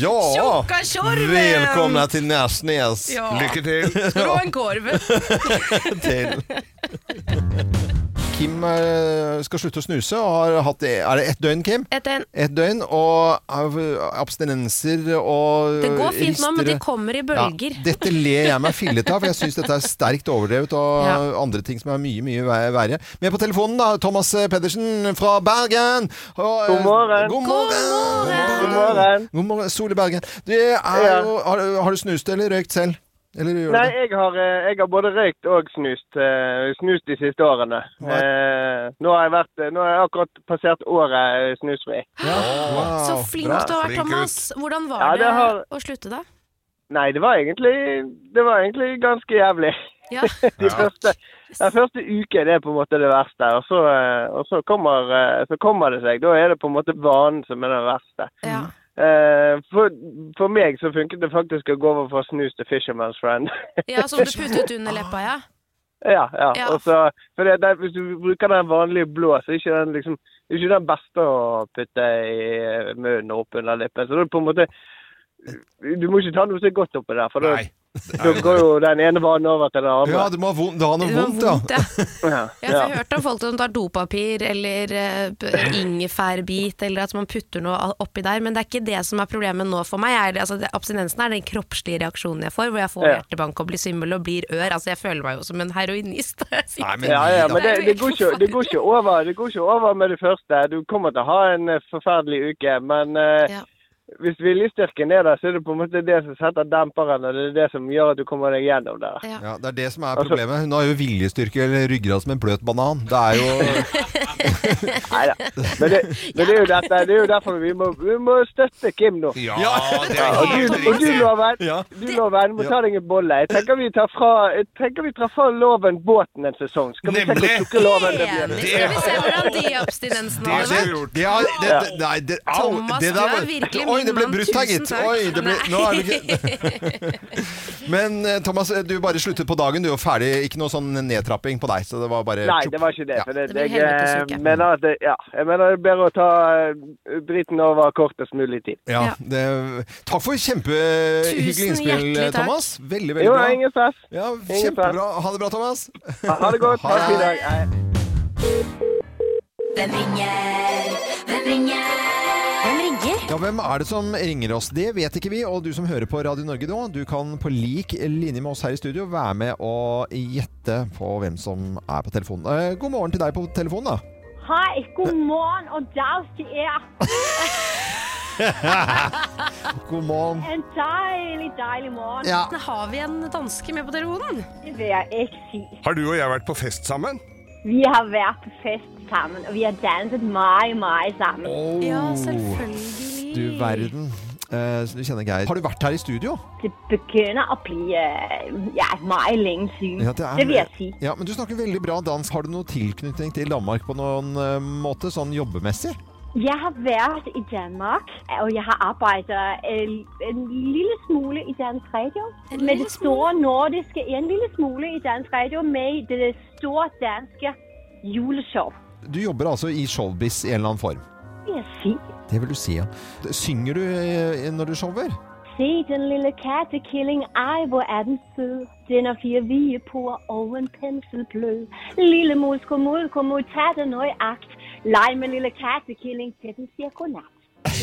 Speaker 1: Ja!
Speaker 3: Tjokka tjorven!
Speaker 1: Velkomna til Nærsnes.
Speaker 3: Ja.
Speaker 2: Lykke
Speaker 3: (laughs)
Speaker 2: til.
Speaker 3: Rå en korv.
Speaker 1: (laughs) til. Kim eh, skal slutte å snuse, og har hatt det Er det ett døgn, Kim?
Speaker 3: Etter en
Speaker 1: Ett døgn, og av- abstinenser og
Speaker 3: det går fint nå, men
Speaker 1: rister-
Speaker 3: det kommer i bølger.
Speaker 1: Ja, dette ler jeg meg fillete av, for jeg syns dette er sterkt overdrevet, og
Speaker 3: Ja.
Speaker 1: andre ting som er mye, mye ver- verre. Med på telefonen, da, Thomas eh, Pedersen fra Bergen. Og, eh,
Speaker 12: God morgen.
Speaker 1: God morgen.
Speaker 12: God morgen.
Speaker 1: God morgen, Sol i Bergen. Du er
Speaker 12: Ja.
Speaker 1: jo, har, du- har du snust eller røykt selv? Eller gjør du
Speaker 12: Nei,
Speaker 1: det?
Speaker 12: jeg har, eh, jeg har både røykt og snust, eh, snust de siste årene.
Speaker 1: Nei.
Speaker 12: Eh, nå, har jeg vært, eh, nå har jeg akkurat passert året eh, snusfri.
Speaker 1: Ja. Wow,
Speaker 3: Så flink du
Speaker 1: bra.
Speaker 3: har vært,
Speaker 2: Flink gutt.
Speaker 3: Thomas. Hvordan var
Speaker 12: Ja, det
Speaker 3: det
Speaker 12: har-
Speaker 3: å slutte, da?
Speaker 12: Nei, det var egentlig, det var egentlig ganske jævlig.
Speaker 3: Ja.
Speaker 12: (laughs) De første, den første uken er på en måte det verste, og så, eh, og så, kommer, eh, så kommer det seg. Da er det på en måte vanen som er den verste.
Speaker 3: ja.
Speaker 12: Eh, for, for meg så funket det faktisk å gå over fra snus til Fisherman's Friend.
Speaker 3: Ja, som du puttet under leppa, ja.
Speaker 12: Ja, ja.
Speaker 3: Ja.
Speaker 12: Og så, for det, det, hvis du bruker den vanlige blå, så er ikke den liksom det er ikke den beste å putte i munnen og oppunder lippen. Så da er det på en måte Du må ikke ta noe som er godt oppi der, for da
Speaker 2: Nei.
Speaker 12: da går jo den ene vanen over til den andre.
Speaker 1: Ja, du må ha vondt, det har noe
Speaker 3: Det var
Speaker 1: vondt, ja.
Speaker 3: vondt, ja.
Speaker 12: (laughs) Ja,
Speaker 3: Jeg har hørt om folk som tar dopapir eller eh, p- ingefærbit, eller at man putter noe al- oppi der, men det er ikke det som er problemet nå for meg. Jeg, er- altså, det, abstinensen er den kroppslige reaksjonen jeg får, hvor jeg får
Speaker 12: Ja.
Speaker 3: hjertebank og blir svimmel og blir ør. Altså, jeg føler meg jo som en heroinist.
Speaker 1: Nei, men,
Speaker 12: Ja, ja, men det,
Speaker 3: Det er jo
Speaker 12: det,
Speaker 3: helt
Speaker 12: går ikke, det, går ikke over, det går ikke over med det første. Du kommer til å ha en eh, forferdelig uke, men eh,
Speaker 3: Ja.
Speaker 12: hvis viljestyrken er der, så er det på en måte det som setter demperen, og det er det som gjør at du kommer deg gjennom det.
Speaker 3: Ja.
Speaker 1: ja, det er det som er
Speaker 12: Altså- (laughs)
Speaker 1: problemet. Hun har jo viljestyrke eller ryggrad som en bløt banan. Det er jo
Speaker 12: Neida. Men, det, men det, er jo dette, det er jo derfor vi må, vi må støtte Kim nå.
Speaker 2: Ja,
Speaker 1: Ja.
Speaker 2: det er
Speaker 12: Og du,
Speaker 2: helt
Speaker 12: og du
Speaker 2: riktig.
Speaker 12: Loven,
Speaker 1: Ja.
Speaker 12: du Loven, må
Speaker 1: Ja.
Speaker 12: ta deg en bolle. Jeg tenker vi tar fra, jeg tenker vi tar fra Loven båten en sesong. Skal vi se hvor
Speaker 2: Nemlig.
Speaker 12: sukkerloven det blir?
Speaker 3: Enig. Skal vi se hvordan de abstinensene
Speaker 2: Det
Speaker 3: hadde
Speaker 2: skulle
Speaker 3: vært?
Speaker 2: vi gjort.
Speaker 1: det er, det, det, Nei, det, au!
Speaker 3: Thomas,
Speaker 1: det
Speaker 3: du
Speaker 1: der
Speaker 3: er
Speaker 1: var-
Speaker 3: virkelig
Speaker 1: Oi,
Speaker 3: min
Speaker 1: det ble
Speaker 3: mann.
Speaker 1: brutt her, gitt.
Speaker 3: Tusen takk.
Speaker 1: Oi, det ble, nå er det ikke
Speaker 3: (laughs)
Speaker 1: Men eh, Thomas, du bare sluttet på dagen, du, og ferdig. Ikke noe sånn nedtrapping på deg. Så det var bare
Speaker 12: Nei,
Speaker 1: tjopp.
Speaker 12: det var ikke det.
Speaker 1: Ja.
Speaker 12: For det,
Speaker 3: Det blir
Speaker 12: jeg, eh,
Speaker 3: helvetesuke.
Speaker 12: mener at det, ja, jeg mener det er bedre å ta eh, driten over kortest mulig tid.
Speaker 1: ja,
Speaker 3: Ja.
Speaker 1: det, Takk for kjempehyggelig
Speaker 3: Tusen
Speaker 1: innspill,
Speaker 3: hjertelig takk.
Speaker 1: Thomas. Veldig, veldig
Speaker 12: Jo,
Speaker 1: bra.
Speaker 12: ingen stress.
Speaker 1: Ja,
Speaker 12: stress.
Speaker 1: kjempebra. Ha det bra, Thomas.
Speaker 12: Ha det godt.
Speaker 1: (laughs) Ha det.
Speaker 12: Ha en fin dag. Hei.
Speaker 10: Hvem ringer? Hvem ringer? Hvem ringer?
Speaker 1: Ja, Hvem er det som ringer oss? Det vet ikke vi. Og du som hører på Radio Norge nå, du kan på lik linje med oss her i studio være med og gjette på hvem som er på telefonen. Eh, god morgen til deg på telefonen, da.
Speaker 13: Hei, god morgen og dag til er
Speaker 1: God morgen.
Speaker 13: En deilig, deilig morgen.
Speaker 1: Ja.
Speaker 3: Har vi en danske med på telefonen?
Speaker 13: Det vil jeg ikke si.
Speaker 2: Har du og jeg vært på fest sammen?
Speaker 13: Vi har vært på fest sammen, og vi har danset mye, mye sammen.
Speaker 1: Ja, selvfølgelig. Du verden. Eh, så du kjenner Geir. Har du vært her i studio?
Speaker 13: Det begynner å bli eh, ja, mye lenge siden.
Speaker 1: Ja,
Speaker 13: det,
Speaker 1: er-
Speaker 13: vil jeg si.
Speaker 1: Ja, men du snakker veldig bra dansk. Har du noen tilknytning til Danmark på noen eh, måte, sånn jobbemessig?
Speaker 13: Jeg har vært i Danmark, og jeg har arbeidet en, en lille smule i dansk radio. Med det store nordiske, en lille smule i dansk radio, med i det store danske juleshow.
Speaker 1: Du jobber altså i showbiz i en eller annen form.
Speaker 13: Vil jeg si.
Speaker 1: Det vil du si, ja. Synger du eh, når du shower?
Speaker 13: Se den lille kattekilling, ej hvor er den sød. Den har fire vigeporer og en penselblød. Lille mus, kom ud, kom ud, tag den nøje akt. Leg med lille kattekilling, til den siger godnat.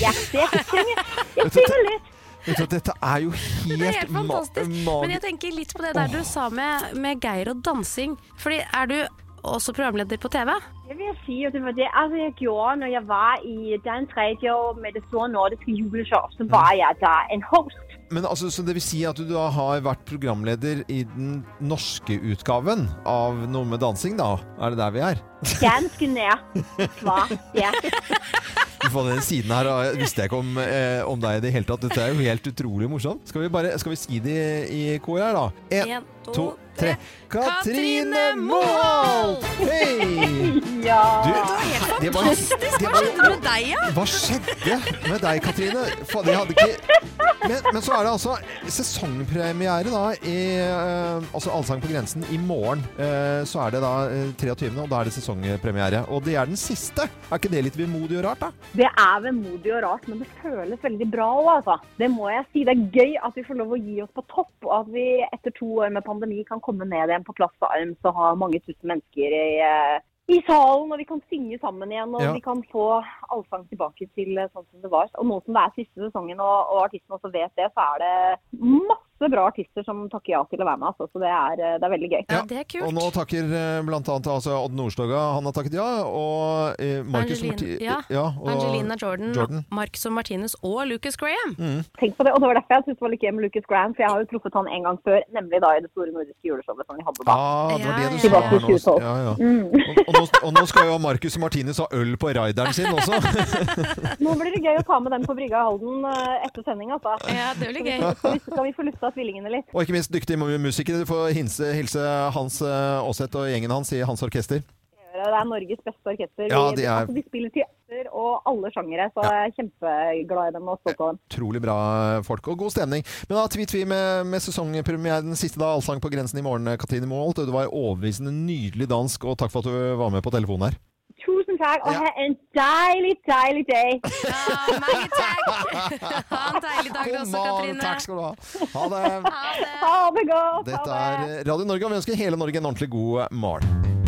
Speaker 13: Ja, det er jeg synger. Jeg synger litt.
Speaker 1: Vet du, dette er jo helt,
Speaker 3: (laughs) Det er helt fantastisk.
Speaker 1: ma-
Speaker 3: Men jeg tenker litt på det der du sa med, med Geir og dansing. Fordi er du også programleder på TV?
Speaker 13: Det vil jeg si, og det var det altså, jeg gjorde når jeg var i Dansk Radio med det store nordiske juleshow. Så var jeg der en host.
Speaker 1: Men altså, så det vil si at du da har vært programleder i den norske utgaven av noe med dansing, da? Er det der vi er?
Speaker 13: Ganske nær svar. Ja.
Speaker 1: Du får den siden her, og visste jeg ikke om, eh, om deg i det hele tatt. Dette er jo helt utrolig morsomt. Skal vi, bare, skal vi si det i kor her, da? (laughs) En, to, tre. Katrine Moholt! Hei!
Speaker 13: Ja.
Speaker 1: Du,
Speaker 10: Det
Speaker 1: det var-
Speaker 10: var helt fantastisk.
Speaker 1: det
Speaker 10: Hva
Speaker 1: var-
Speaker 10: skjedde med deg, ja?
Speaker 1: Hva skjedde med deg, Katrine? Fader, jeg hadde ikke men, men så er det altså sesongpremiere da i eh, altså Allsang på grensen i morgen. Eh, så er det da eh, 23., og da er det sesongpremiere. Og det er den siste. Er ikke det litt vemodig og rart, da?
Speaker 13: Det er vemodig og rart, men det føles veldig bra òg, altså. Det må jeg si. Det er gøy at vi får lov å gi oss på topp, og at vi etter to år med pandemi kan komme ned igjen på plass og arm og ha mange tusen mennesker i, eh, i salen, og vi kan synge sammen igjen, og
Speaker 14: Ja.
Speaker 13: vi kan få allsang tilbake til eh, sånn som det var. Og nå som det er siste sesongen, og, og artistene også vet det, så er det masse bra artister som takker ja til å være med, altså. Så det er, eh, det er veldig gøy. Ja,
Speaker 3: det er
Speaker 1: Og nå takker eh, blant annet altså Odd Nordstoga, han har takket ja, og eh, Marcus
Speaker 3: Angelina,
Speaker 1: Marti-
Speaker 3: ja.
Speaker 1: og-
Speaker 3: Angelina Jordan,
Speaker 1: Jordan.
Speaker 3: Marcus og Martinus og Lucas Graham.
Speaker 1: Mm.
Speaker 13: Tenk på det, og det var derfor jeg syntes det var litt gøy med Lucas Graham, for jeg har jo truffet han en gang før, nemlig da i det store nordiske juleshowet som vi
Speaker 3: (laughs)
Speaker 13: hadde da.
Speaker 1: Ah, det var det du sa
Speaker 13: Tilbake
Speaker 1: her
Speaker 13: i
Speaker 1: nå.
Speaker 13: 2012.
Speaker 1: Ja, ja.
Speaker 13: Mm.
Speaker 1: Og, og, nå, og nå skal jo Marcus og Martinus ha øl på rideren sin også. (laughs)
Speaker 13: Nå blir det gøy å ta med dem på brygga i Halden eh, etter sending, altså.
Speaker 3: Ja, det blir gøy.
Speaker 13: Skal vi, skal vi få lufta tvillingene litt?
Speaker 1: Og ikke minst dyktige mu- musikere. Du får hilse, hilse Hans eh, Aaseth og gjengen hans i Hans Orkester.
Speaker 13: Det er Norges beste orkester.
Speaker 1: Ja,
Speaker 13: Vi-
Speaker 1: de er-
Speaker 13: altså, de spiller til jazzer og alle sjangere, så jeg er kjempeglad i dem og stolt av dem.
Speaker 1: Utrolig bra eh, folk og god stemning. Men da tvi-tvi med, med sesongpremieren siste da, Allsang på grensen i morgen, eh, Katrine Moholt. Det var overbevisende nydelig dansk, og takk for at du var med på telefonen her.
Speaker 13: Tusen takk, og ha en deilig, deilig dag!
Speaker 3: (laughs) Ha en deilig dag du også,
Speaker 1: Kom an,
Speaker 3: Katrine.
Speaker 1: takk skal du ha. Ha det.
Speaker 13: Ha det godt!
Speaker 1: Dette er Radio Norge, og vi ønsker hele Norge en ordentlig god morgen.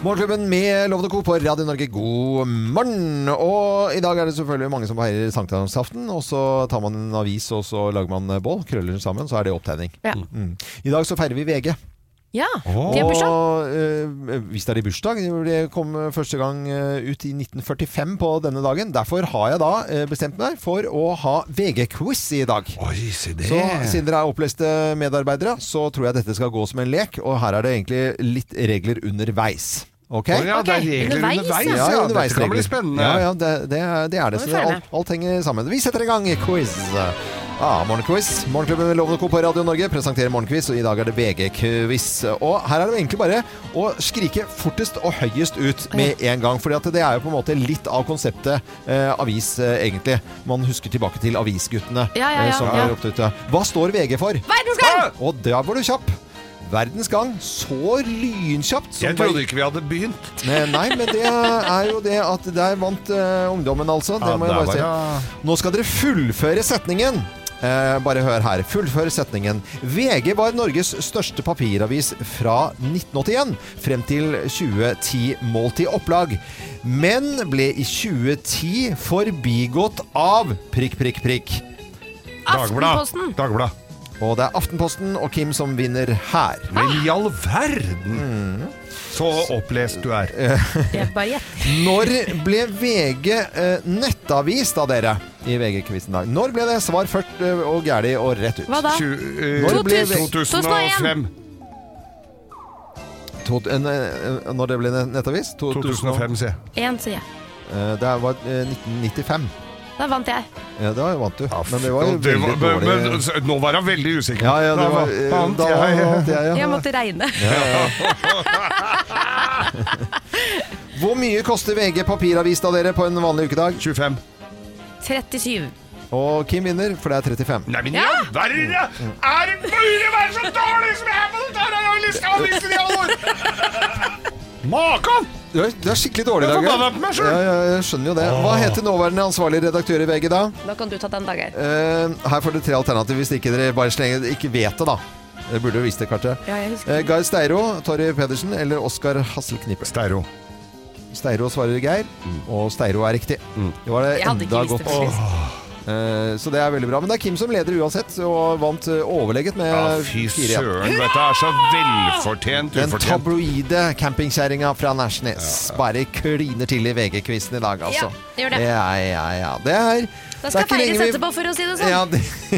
Speaker 1: Morgenklubben med Lovende Co. på Radio Norge, god morgen! Og i dag er det selvfølgelig mange som feirer sankthansaften. Og så tar man en avis, og så lager man bål, krøller den sammen, så er det opptenning.
Speaker 3: Ja.
Speaker 1: Mm. I dag så feirer vi VG.
Speaker 3: Ja,
Speaker 1: Og
Speaker 3: de har bursdag.
Speaker 1: eh, hvis det er i bursdag, det kom første gang eh, ut i 1945 på denne dagen. Derfor har jeg da eh, bestemt meg for å ha VG-quiz i dag. Så siden dere er oppleste medarbeidere, så tror jeg dette skal gå som en lek. Og her er det egentlig litt regler underveis. Ok?
Speaker 2: Å ja, det er regler Ok, underveis, underveis, ja.
Speaker 1: Ja,
Speaker 2: ja,
Speaker 1: underveis
Speaker 2: dette kan bli
Speaker 1: regler.
Speaker 2: spennende.
Speaker 1: Ja, ja, det, det, er- det er det.
Speaker 2: Må vi
Speaker 1: Så
Speaker 2: følge
Speaker 1: alt, alt henger sammen. Vi setter i gang quiz. Ja, morgenquiz. Morgenklubben med Lovende Co. på Radio Norge presenterer morgenquiz, og i dag er det VG-quiz. Og her er det jo egentlig bare å skrike fortest og høyest ut med en gang. For det er jo på en måte litt av konseptet eh, avis, eh, egentlig. Man husker tilbake til avisguttene
Speaker 3: Ja, ja,
Speaker 1: eh,
Speaker 3: ja,
Speaker 1: som
Speaker 3: ja.
Speaker 1: er opptatt av- Hva står VG for?
Speaker 3: Verdens gang!
Speaker 1: Og der var du kjapp. Verdens gang så lynkjapt som
Speaker 2: Jeg trodde ikke vi hadde begynt.
Speaker 1: Nei, nei, men det er jo det at der vant eh, ungdommen, altså. Det
Speaker 2: Ja,
Speaker 1: må jeg
Speaker 2: der
Speaker 1: bare si.
Speaker 2: var
Speaker 1: Nå skal dere fullføre setningen. Eh, bare hør her. Fullføre setningen. VG var Norges største papiravis fra 1981 frem til 2010 målt i opplag, men ble i 2010 forbigått av prikk, prikk, prikk.
Speaker 2: Aftenposten. Dagblad.
Speaker 1: Og det er Aftenposten og Kim som vinner her.
Speaker 2: Men i all verden! Så opplest du er.
Speaker 1: Eh, (laughs) Når ble VG eh, nettavis, da, dere? I VG-quizen i dag. Når ble det svar først eh, og gæli og rett ut?
Speaker 2: eh, Hva da? Tju- eh,
Speaker 1: Når ble
Speaker 2: 2000.
Speaker 1: VG 2005.
Speaker 2: 2005.
Speaker 1: to, en, en- når det ble ne- nettavis? To-
Speaker 2: 2005, sier jeg.
Speaker 3: Én, sier jeg.
Speaker 1: Eh, Det var eh, 1995.
Speaker 3: Da vant jeg.
Speaker 1: Ja, da vant du. Men det var jo
Speaker 2: Og det
Speaker 1: veldig
Speaker 2: var- men-
Speaker 1: dårlig.
Speaker 2: men- så- nå var han veldig usikker.
Speaker 1: Ja, ja, det
Speaker 2: Da
Speaker 1: var-
Speaker 2: vant
Speaker 1: eh,
Speaker 2: han,
Speaker 1: da
Speaker 2: jeg. (laughs)
Speaker 1: vant jeg, ja.
Speaker 3: Jeg måtte regne.
Speaker 1: Ja, ja, Hvor mye koster VG papiravis da dere på en vanlig ukedag?
Speaker 2: 25.
Speaker 3: 37.
Speaker 1: Og Kim vinner, for det er 35.
Speaker 2: Nei, men ja, verre! Er det mulig å være så dårlig som jeg er på den der rollelista og listen i alle år? Makan!
Speaker 1: Du er, du er skikkelig dårlig i
Speaker 2: Jeg er
Speaker 1: dag.
Speaker 2: forbanna på meg selv.
Speaker 1: Ja, ja, jeg skjønner jo det. Hva heter nåværende ansvarlig redaktør i VG da?
Speaker 3: Da kan du ta den, Dageir.
Speaker 1: Eh, her får dere tre alternativer hvis ikke dere bare slenger, ikke vet det, da. Dere burde jo visst det, kanskje.
Speaker 3: Ja, jeg husker
Speaker 1: Eh, Geir Steiro, Torry Pedersen eller Oskar Hasselknipe?
Speaker 2: Steiro. Mm.
Speaker 1: Steiro svarer Geir, og Steiro er riktig. Det var det
Speaker 2: Jeg hadde ikke
Speaker 1: enda
Speaker 2: visst
Speaker 1: godt.
Speaker 2: det til
Speaker 1: Eh, Så det er veldig bra. Men det er Kim som leder uansett, og vant eh, overlegget med
Speaker 2: Ja, fy
Speaker 1: 4-1.
Speaker 2: søren, dette er så velfortjent
Speaker 1: Den
Speaker 2: ufortjent.
Speaker 1: tabloide campingkjerringa fra Nærsnes bare kliner til i VG-quizen i dag, altså.
Speaker 3: Ja, gjør det.
Speaker 1: Ja, ja, ja. Det er
Speaker 3: Da
Speaker 1: det er
Speaker 3: skal
Speaker 1: ikke lenge
Speaker 3: feires
Speaker 1: vi-
Speaker 3: etterpå, for å si det sånn.
Speaker 1: Ja, det, (laughs)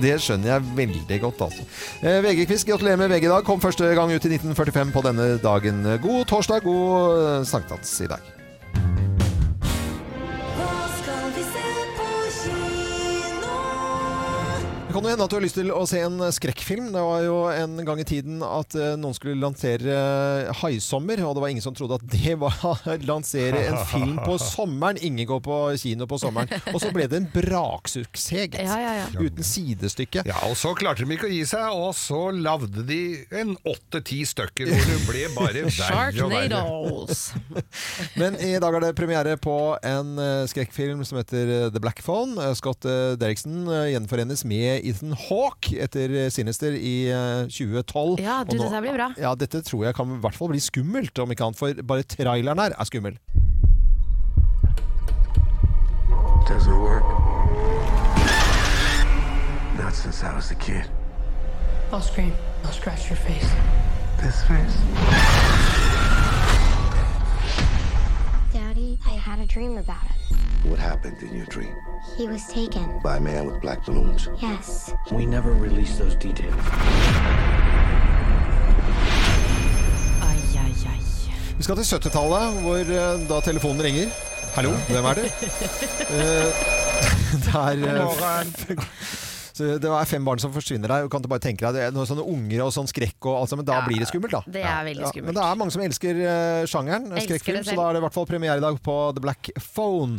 Speaker 1: det skjønner jeg veldig godt, altså. Eh, VG-quiz, gratulerer med VG i dag. Kom første gang ut i 1945 på denne dagen. God torsdag, god eh, sankthans i dag.
Speaker 15: Hva skal vi se på kino?
Speaker 1: Det kan jo hende at du har lyst til å se en skrekkfilm. Det var jo en gang i tiden at eh, noen skulle lansere eh, 'Haisommer', og det var ingen som trodde at det var (laughs) å lansere en film på sommeren. Ingen går på kino på
Speaker 2: (laughs)
Speaker 1: sommeren. Og så ble det en braksuksess, gitt.
Speaker 2: Ja, ja, ja.
Speaker 1: Uten sidestykke.
Speaker 2: Ja, og så klarte de ikke å gi seg, og så lavde de en åtte-ti stykker, hvor det ble bare verre og verre.
Speaker 3: Sharknadoes.
Speaker 1: (laughs) Men i dag er det premiere på en eh, skrekkfilm som heter eh, The Black Phone. Eh, Scott eh, Derrickson eh, gjenforenes med Ethan Hawke etter eh, Sinister i eh, 2012.
Speaker 3: Ja, du,
Speaker 1: Og nå-
Speaker 3: dette her blir bra.
Speaker 1: Ja, dette tror jeg kan i hvert fall bli skummelt, om ikke annet, for bare traileren her er skummel.
Speaker 14: Doesn't work. Not since I was a kid.
Speaker 16: I'll scream. I'll scratch your face.
Speaker 14: This face?
Speaker 17: Daddy, I had a dream about it.
Speaker 14: What happened in your dream?
Speaker 17: He was taken.
Speaker 14: By a man with black balloons.
Speaker 17: Yes.
Speaker 14: We never released those details.
Speaker 16: Ai, ai, ai.
Speaker 1: Vi skal til 70-tallet, hvor eh, da telefonen ringer. Hallo, hvem
Speaker 3: (laughs)
Speaker 1: er du? Eh, (laughs) det er eh, så det er fem barn som forsvinner der. og Kan du bare tenke deg, det er noen sånne unger og sånn skrekk og alt sammen. Da blir det skummelt, da.
Speaker 3: Det er veldig skummelt.
Speaker 1: men det er mange som elsker eh, sjangeren, eh,
Speaker 3: Elsker
Speaker 1: skrekkfilm,
Speaker 3: det
Speaker 1: så
Speaker 3: selv.
Speaker 1: da er det i hvert fall premiere i dag på The Black Phone.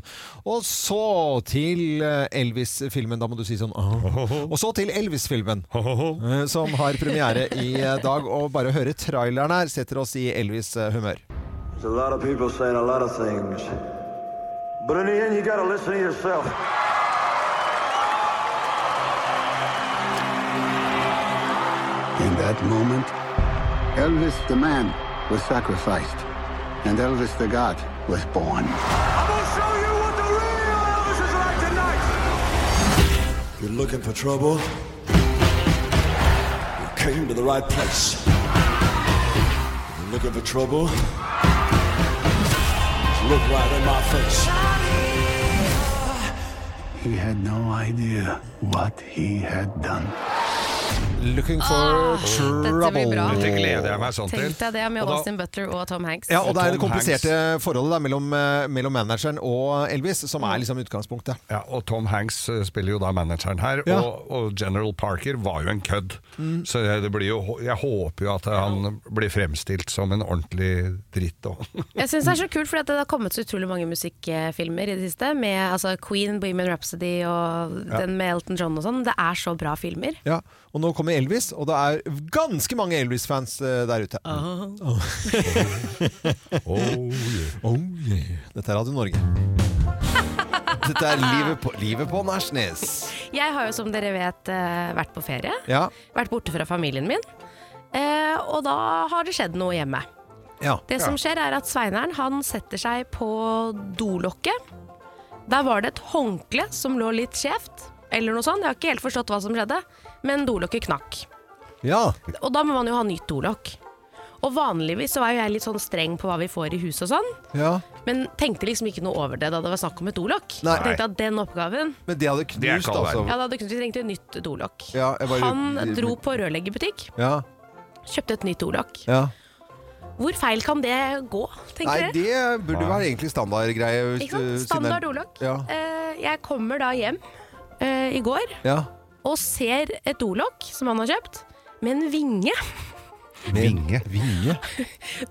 Speaker 1: Og så til eh, Elvis-filmen. Da må du si sånn
Speaker 3: (laughs)
Speaker 1: «Åh». Og så til Elvis-filmen, eh, som har premiere i eh, dag. Og bare å høre traileren her setter oss i eh, Elvis-humør.
Speaker 18: There's a lot of people saying a lot of things. But in the end, you gotta listen to yourself.
Speaker 11: In that moment, Elvis the man was sacrificed, and Elvis the God was born.
Speaker 18: You're looking for trouble? You came to the right place. You're looking for trouble? Look right in my face.
Speaker 11: He had no idea what he had done.
Speaker 1: Looking for
Speaker 3: Dette blir bra.
Speaker 1: trouble.
Speaker 3: Tenk deg det med Austin Butler sånn og Tom Hanks.
Speaker 1: Ja, og det er det kompliserte forholdet der mellom, eh, mellom manageren og Elvis, som
Speaker 3: Mm.
Speaker 1: er liksom utgangspunktet.
Speaker 2: Ja, og Tom Hanks eh, spiller jo da manageren her, og, og General Parker var jo en kødd. Så jeg- det blir jo, jeg håper jo at han blir fremstilt som en ordentlig dritt. Og.
Speaker 3: Jeg syns det er så kult, for det har kommet så utrolig mange musikkfilmer i det siste. Med altså, Queen, Bohemian Rhapsody og
Speaker 1: Ja.
Speaker 3: den med Elton John og sånn. Det er så bra filmer.
Speaker 1: Ja, og nå kommer Elvis, og det er ganske mange Elvis-fans eh, der ute.
Speaker 3: Ah.
Speaker 1: (laughs) oh, yeah. Dette her hadde
Speaker 3: (laughs)
Speaker 1: Norge. Dette er livet på, livet på Nærsnes.
Speaker 3: Jeg har jo, som dere vet, eh, vært på ferie.
Speaker 1: Ja.
Speaker 3: Vært borte fra familien min. Eh, og da har det skjedd noe hjemme.
Speaker 1: ja.
Speaker 3: Det som skjer, er at Sveineren han setter seg på dolokket. Der var det et håndkle som lå litt skjevt, eller noe sånt. Jeg har ikke helt forstått hva som skjedde, men dolokket knakk.
Speaker 1: Ja.
Speaker 3: Og da må man jo ha nytt dolokk. Og vanligvis så er jo jeg litt sånn streng på hva vi får i huset og sånn,
Speaker 1: ja.
Speaker 3: men tenkte liksom ikke noe over det da det var snakk om et dolokk.
Speaker 1: Nei.
Speaker 3: Tenkte at den oppgaven
Speaker 1: Men det hadde
Speaker 3: Ja,
Speaker 1: knust,
Speaker 3: da
Speaker 1: altså.
Speaker 3: hadde Knut vi trengte et nytt dolokk.
Speaker 1: Ja, jeg bare-
Speaker 3: Han dro på rørleggerbutikk,
Speaker 1: Ja.
Speaker 3: kjøpte et nytt dolokk.
Speaker 1: Ja.
Speaker 3: Hvor feil kan det gå,
Speaker 1: Nei, det
Speaker 3: tenker dere?
Speaker 1: burde være egentlig standardgreie. hvis
Speaker 3: Ikke sant?
Speaker 1: du- siden det er-
Speaker 3: Standard ordlokk.
Speaker 1: Ja.
Speaker 3: Eh, Jeg kommer da hjem eh, i går
Speaker 1: ja.
Speaker 3: og ser et dolokk som han har kjøpt, med en vinge. (laughs)
Speaker 1: Vinge. Vinge.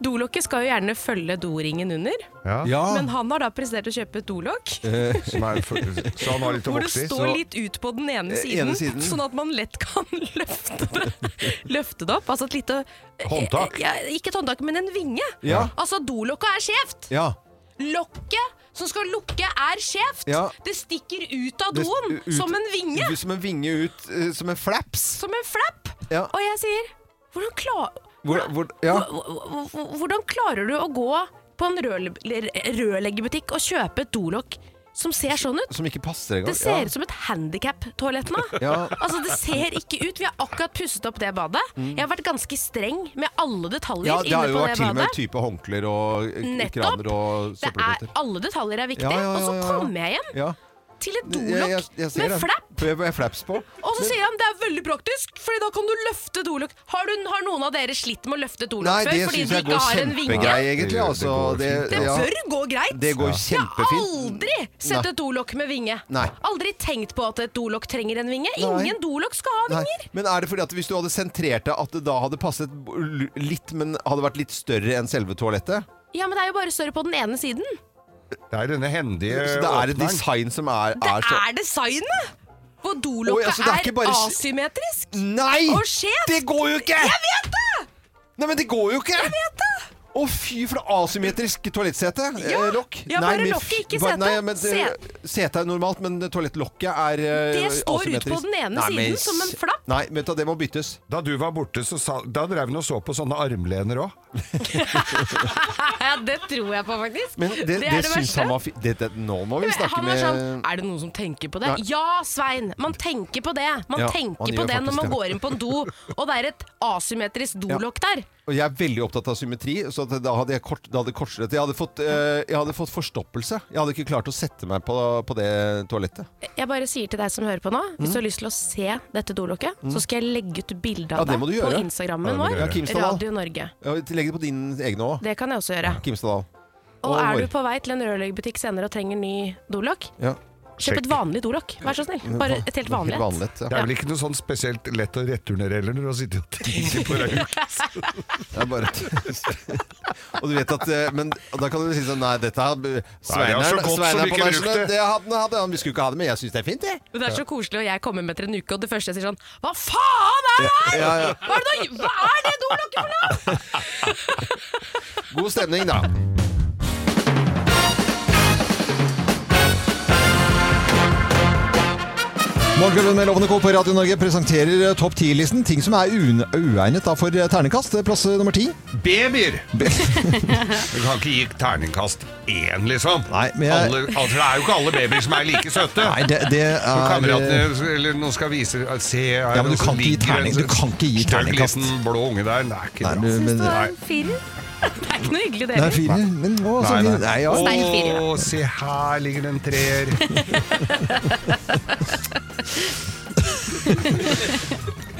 Speaker 3: Dolokket skal jo gjerne følge doringen under,
Speaker 2: Ja.
Speaker 1: (laughs)
Speaker 3: men han har da prestert å kjøpe et dolokk.
Speaker 2: Eh, som er for, så han har litt å
Speaker 3: Hvor det
Speaker 2: vokse i.
Speaker 3: står litt ut på den ene
Speaker 2: Eh,
Speaker 3: siden,
Speaker 2: ene siden.
Speaker 3: sånn at man lett kan (laughs) løfte det, løfte det opp. Altså et lite
Speaker 2: Håndtak.
Speaker 3: Ja, ikke et håndtak, men en vinge.
Speaker 1: Ja.
Speaker 3: Altså, dolokka er skjevt!
Speaker 1: ja.
Speaker 3: Lokket som skal lukke, er skjevt!
Speaker 1: Ja.
Speaker 3: Det stikker ut av
Speaker 1: Det-
Speaker 3: doen
Speaker 1: ut-
Speaker 3: som en vinge!
Speaker 1: Som en vinge ut, eh, som en flaps.
Speaker 3: Som en flapp!
Speaker 1: Ja.
Speaker 3: Og jeg sier hvordan, kla-
Speaker 1: Hvor, hvor, ja.
Speaker 3: hvor- hvor- hvordan klarer du å gå på en rødle- rørleggerbutikk og kjøpe et dolokk som ser sånn ut?
Speaker 1: Som ikke passer engang.
Speaker 3: Det ser
Speaker 1: Ja.
Speaker 3: ut som et handikap-toalett nå.
Speaker 1: (laughs) Ja.
Speaker 3: Altså, det ser ikke ut. Vi har akkurat pusset opp det badet.
Speaker 1: Mm.
Speaker 3: Jeg har vært ganske streng med alle detaljer
Speaker 1: Ja, det har
Speaker 3: inne
Speaker 1: jo
Speaker 3: på
Speaker 1: vært
Speaker 3: det
Speaker 1: til og
Speaker 3: badet.
Speaker 1: med type håndklær og eh,
Speaker 3: Nettopp.
Speaker 1: kraner og
Speaker 3: Det er,
Speaker 1: søppelbøtter.
Speaker 3: alle detaljer er viktige.
Speaker 1: Ja, ja, ja,
Speaker 3: Og
Speaker 1: ja,
Speaker 3: så
Speaker 1: ja.
Speaker 3: kommer jeg hjem
Speaker 1: Ja.
Speaker 3: til et
Speaker 1: Jeg- jeg- jeg
Speaker 3: dolokk
Speaker 1: ser
Speaker 3: med
Speaker 1: det.
Speaker 3: flapp.
Speaker 1: Med- Med flaps på.
Speaker 3: Og så sier han det er veldig praktisk, Fordi da kan du løfte et dolokk. Har, du- har noen av dere slitt med å løfte et
Speaker 1: Nei,
Speaker 3: dolokk
Speaker 1: det
Speaker 3: før fordi
Speaker 1: syns
Speaker 3: du
Speaker 1: jeg
Speaker 3: ikke
Speaker 1: går
Speaker 3: har en vinge?
Speaker 1: kjempegreier, egentlig. Altså, det,
Speaker 3: Det
Speaker 1: ja.
Speaker 3: bør gå greit.
Speaker 1: Det går
Speaker 3: Jeg har
Speaker 1: kjempefint.
Speaker 3: aldri sett
Speaker 1: Nei.
Speaker 3: et dolokk med vinge.
Speaker 1: Nei.
Speaker 3: Aldri tenkt på at et dolokk trenger en vinge.
Speaker 1: Nei.
Speaker 3: Ingen dolokk skal ha
Speaker 1: Nei.
Speaker 3: vinger.
Speaker 1: Men er det fordi at hvis du hadde sentrert det, at det da hadde passet l- litt, men hadde vært litt større enn selve toalettet?
Speaker 3: Ja, men det er jo bare større på den ene siden.
Speaker 2: Det er denne hendige
Speaker 1: Så det er et design som er,
Speaker 3: Det
Speaker 1: er så
Speaker 3: er designet! Hvor
Speaker 1: Oi,
Speaker 3: dolokket
Speaker 1: altså, det er
Speaker 3: er,
Speaker 1: ikke bare-
Speaker 3: asymmetrisk.
Speaker 1: Nei!
Speaker 3: Og skjevt!
Speaker 1: Det går jo ikke!
Speaker 3: Jeg vet det!
Speaker 1: Nei, men det går jo ikke! Jeg vet det! Å fy, for det asymmetrisk toalettsete.
Speaker 3: Ja.
Speaker 1: eh, lokk.
Speaker 3: Ja,
Speaker 1: Nei,
Speaker 3: bare
Speaker 1: men-
Speaker 3: lokket, ikke
Speaker 1: bare-
Speaker 3: setet.
Speaker 1: Nei, men det- Setet er normalt, men toalettlokket er eh,
Speaker 3: Det står ut på
Speaker 1: asymmetrisk.
Speaker 3: den ene
Speaker 1: Nei, men
Speaker 3: siden som en
Speaker 1: s-
Speaker 3: flapp.
Speaker 1: Nei, vet du, hva, det må byttes.
Speaker 2: Da du var borte, så sa, da drev hun og så på sånne armlener òg.
Speaker 3: (laughs) ja, det tror jeg på, faktisk.
Speaker 1: Men det, det, syns han var fint. Nå må vi snakke
Speaker 3: han
Speaker 1: med
Speaker 3: var sånn, Er det noen som tenker på det?
Speaker 1: Nei.
Speaker 3: Ja, Svein! Man tenker på det. Man
Speaker 1: Ja, han
Speaker 3: tenker
Speaker 1: gjør
Speaker 3: på det når
Speaker 1: faktisk
Speaker 3: man
Speaker 1: det.
Speaker 3: går inn på en do, og det er et asymmetrisk dolokk der.
Speaker 1: Og jeg er veldig opptatt av symmetri, så at da hadde jeg, kort, da hadde jeg kortsluttet. Jeg hadde, fått, eh, jeg hadde fått forstoppelse. Jeg hadde ikke klart å sette meg på, på det toalettet.
Speaker 3: Jeg bare sier til deg som hører på nå, hvis du har lyst til å se dette dolokket,
Speaker 1: Mm.
Speaker 3: så skal jeg legge ut bilde
Speaker 1: Ja,
Speaker 3: av
Speaker 1: det må du
Speaker 3: deg på
Speaker 1: gjøre. Ja, det
Speaker 3: Instagrammen
Speaker 1: må du
Speaker 3: vår,
Speaker 1: gjøre. Ja, Kim Stadal.
Speaker 3: Radio Norge.
Speaker 1: Ja, Legg det på din egne òg.
Speaker 3: Det kan jeg også gjøre.
Speaker 1: Kimstadal.
Speaker 3: Og
Speaker 1: Og
Speaker 3: er
Speaker 1: vår.
Speaker 3: du på vei til en rørleggerbutikk senere og trenger ny dolokk,
Speaker 1: Ja.
Speaker 3: kjøp et vanlig dolokk. Vær så snill. Bare et helt vanlig et.
Speaker 2: Det er vel ikke noe sånn spesielt lett å returnere heller, når du har sittet og tenkt
Speaker 3: (laughs)
Speaker 2: på det.
Speaker 1: Det er bare Og du vet at eh, Men da kan du si sånn Nei, dette har
Speaker 2: jeg har så
Speaker 1: Sveineren
Speaker 2: godt som
Speaker 1: Sveineren på
Speaker 2: ikke brukt
Speaker 1: Nationalen,
Speaker 2: det.
Speaker 1: det hadde, hadde han. Vi skulle ikke ha det, men jeg syns det er fint, jeg.
Speaker 3: Men det er så koselig, og jeg kommer med etter en uke, og det første jeg sier sånn Hva faen er det her?!
Speaker 1: Ja, ja.
Speaker 3: Hva er det, da- hva er det dolokket for
Speaker 1: (laughs)
Speaker 3: noe?!
Speaker 1: God stemning, da. Morgenklubben med Lovende Co. på Radio Norge presenterer eh, topp 10-listen. Ting som er un- uegnet da for eh, ternekast. Eh, Plass eh, nummer ti.
Speaker 2: (laughs) Babyer! Du kan ikke gi terningkast én, liksom.
Speaker 1: men jeg-
Speaker 2: alle, altså, det er jo ikke alle babyer som er like søte.
Speaker 1: Nei, det- det er-
Speaker 2: Når kameratene eller noen skal vise at Se, her,
Speaker 1: Ja, men du
Speaker 2: og så
Speaker 1: kan ikke gi
Speaker 2: ligger en
Speaker 1: terning- du kan ikke gi
Speaker 2: stygg
Speaker 1: terningkast.
Speaker 2: liten blå unge der. Det er ikke
Speaker 1: Nei,
Speaker 2: bra.
Speaker 1: du, men-
Speaker 2: Nei.
Speaker 7: (laughs)
Speaker 3: Firer? Det er ikke noe
Speaker 1: Det
Speaker 3: hyggelig, dere.
Speaker 1: er fire. Men å, så
Speaker 2: Nei, nei.
Speaker 1: fint. Nei, ja.
Speaker 3: Stein fire.
Speaker 2: Å, se her ligger det en treer.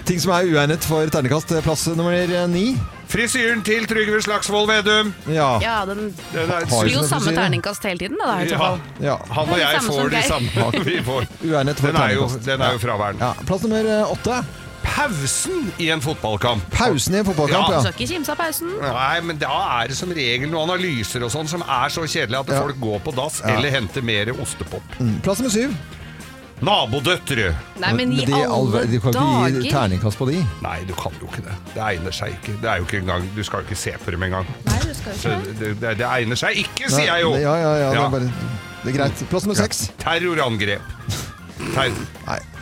Speaker 1: Ting som er uegnet for ternekast. eh, Plass eh, nummer eh, ni.
Speaker 2: Frisyren til Trygve Slagsvold Vedum.
Speaker 1: Ja.
Speaker 8: Ja, den
Speaker 2: Den er-
Speaker 8: blir jo
Speaker 2: Har ikke noe
Speaker 8: samme
Speaker 2: frisyre.
Speaker 8: terningkast hele tiden, da. da i så fall.
Speaker 1: Ja.
Speaker 2: Han og
Speaker 8: Det er
Speaker 2: jeg
Speaker 8: det samme
Speaker 2: får
Speaker 8: som
Speaker 2: de
Speaker 8: Geir.
Speaker 2: samme vi får.
Speaker 1: Uegnet for
Speaker 2: Den er jo,
Speaker 1: terningkast.
Speaker 2: den er jo fraværende.
Speaker 1: Ja. Plass nummer eh, åtte.
Speaker 2: Pausen i en fotballkamp.
Speaker 1: Pausen i en fotballkamp, ja.
Speaker 8: Skal ikke kimse av pausen.
Speaker 2: Nei, men da er det som regel noen analyser og sånn som er så kjedelig at folk går på dass
Speaker 1: Ja.
Speaker 2: eller henter mer ostepop.
Speaker 1: Mm, Plass nummer syv.
Speaker 2: Nabodøtre.
Speaker 8: Nei, men i
Speaker 1: de er
Speaker 8: alle
Speaker 1: Du kan ikke gi
Speaker 8: dager
Speaker 1: terningkast på de.
Speaker 2: Nei, du kan jo ikke det. Det egner seg ikke. Det er jo ikke engang, Du skal jo ikke se på dem engang.
Speaker 8: Nei, du skal
Speaker 2: Så
Speaker 8: jo ikke det.
Speaker 2: Det, det, det egner seg ikke,
Speaker 1: Nei,
Speaker 2: sier jeg jo!
Speaker 1: Ja, ja, ja, Det,
Speaker 2: Ja.
Speaker 1: er bare, det er greit. Plass nummer seks.
Speaker 2: Terrorangrep. Terror.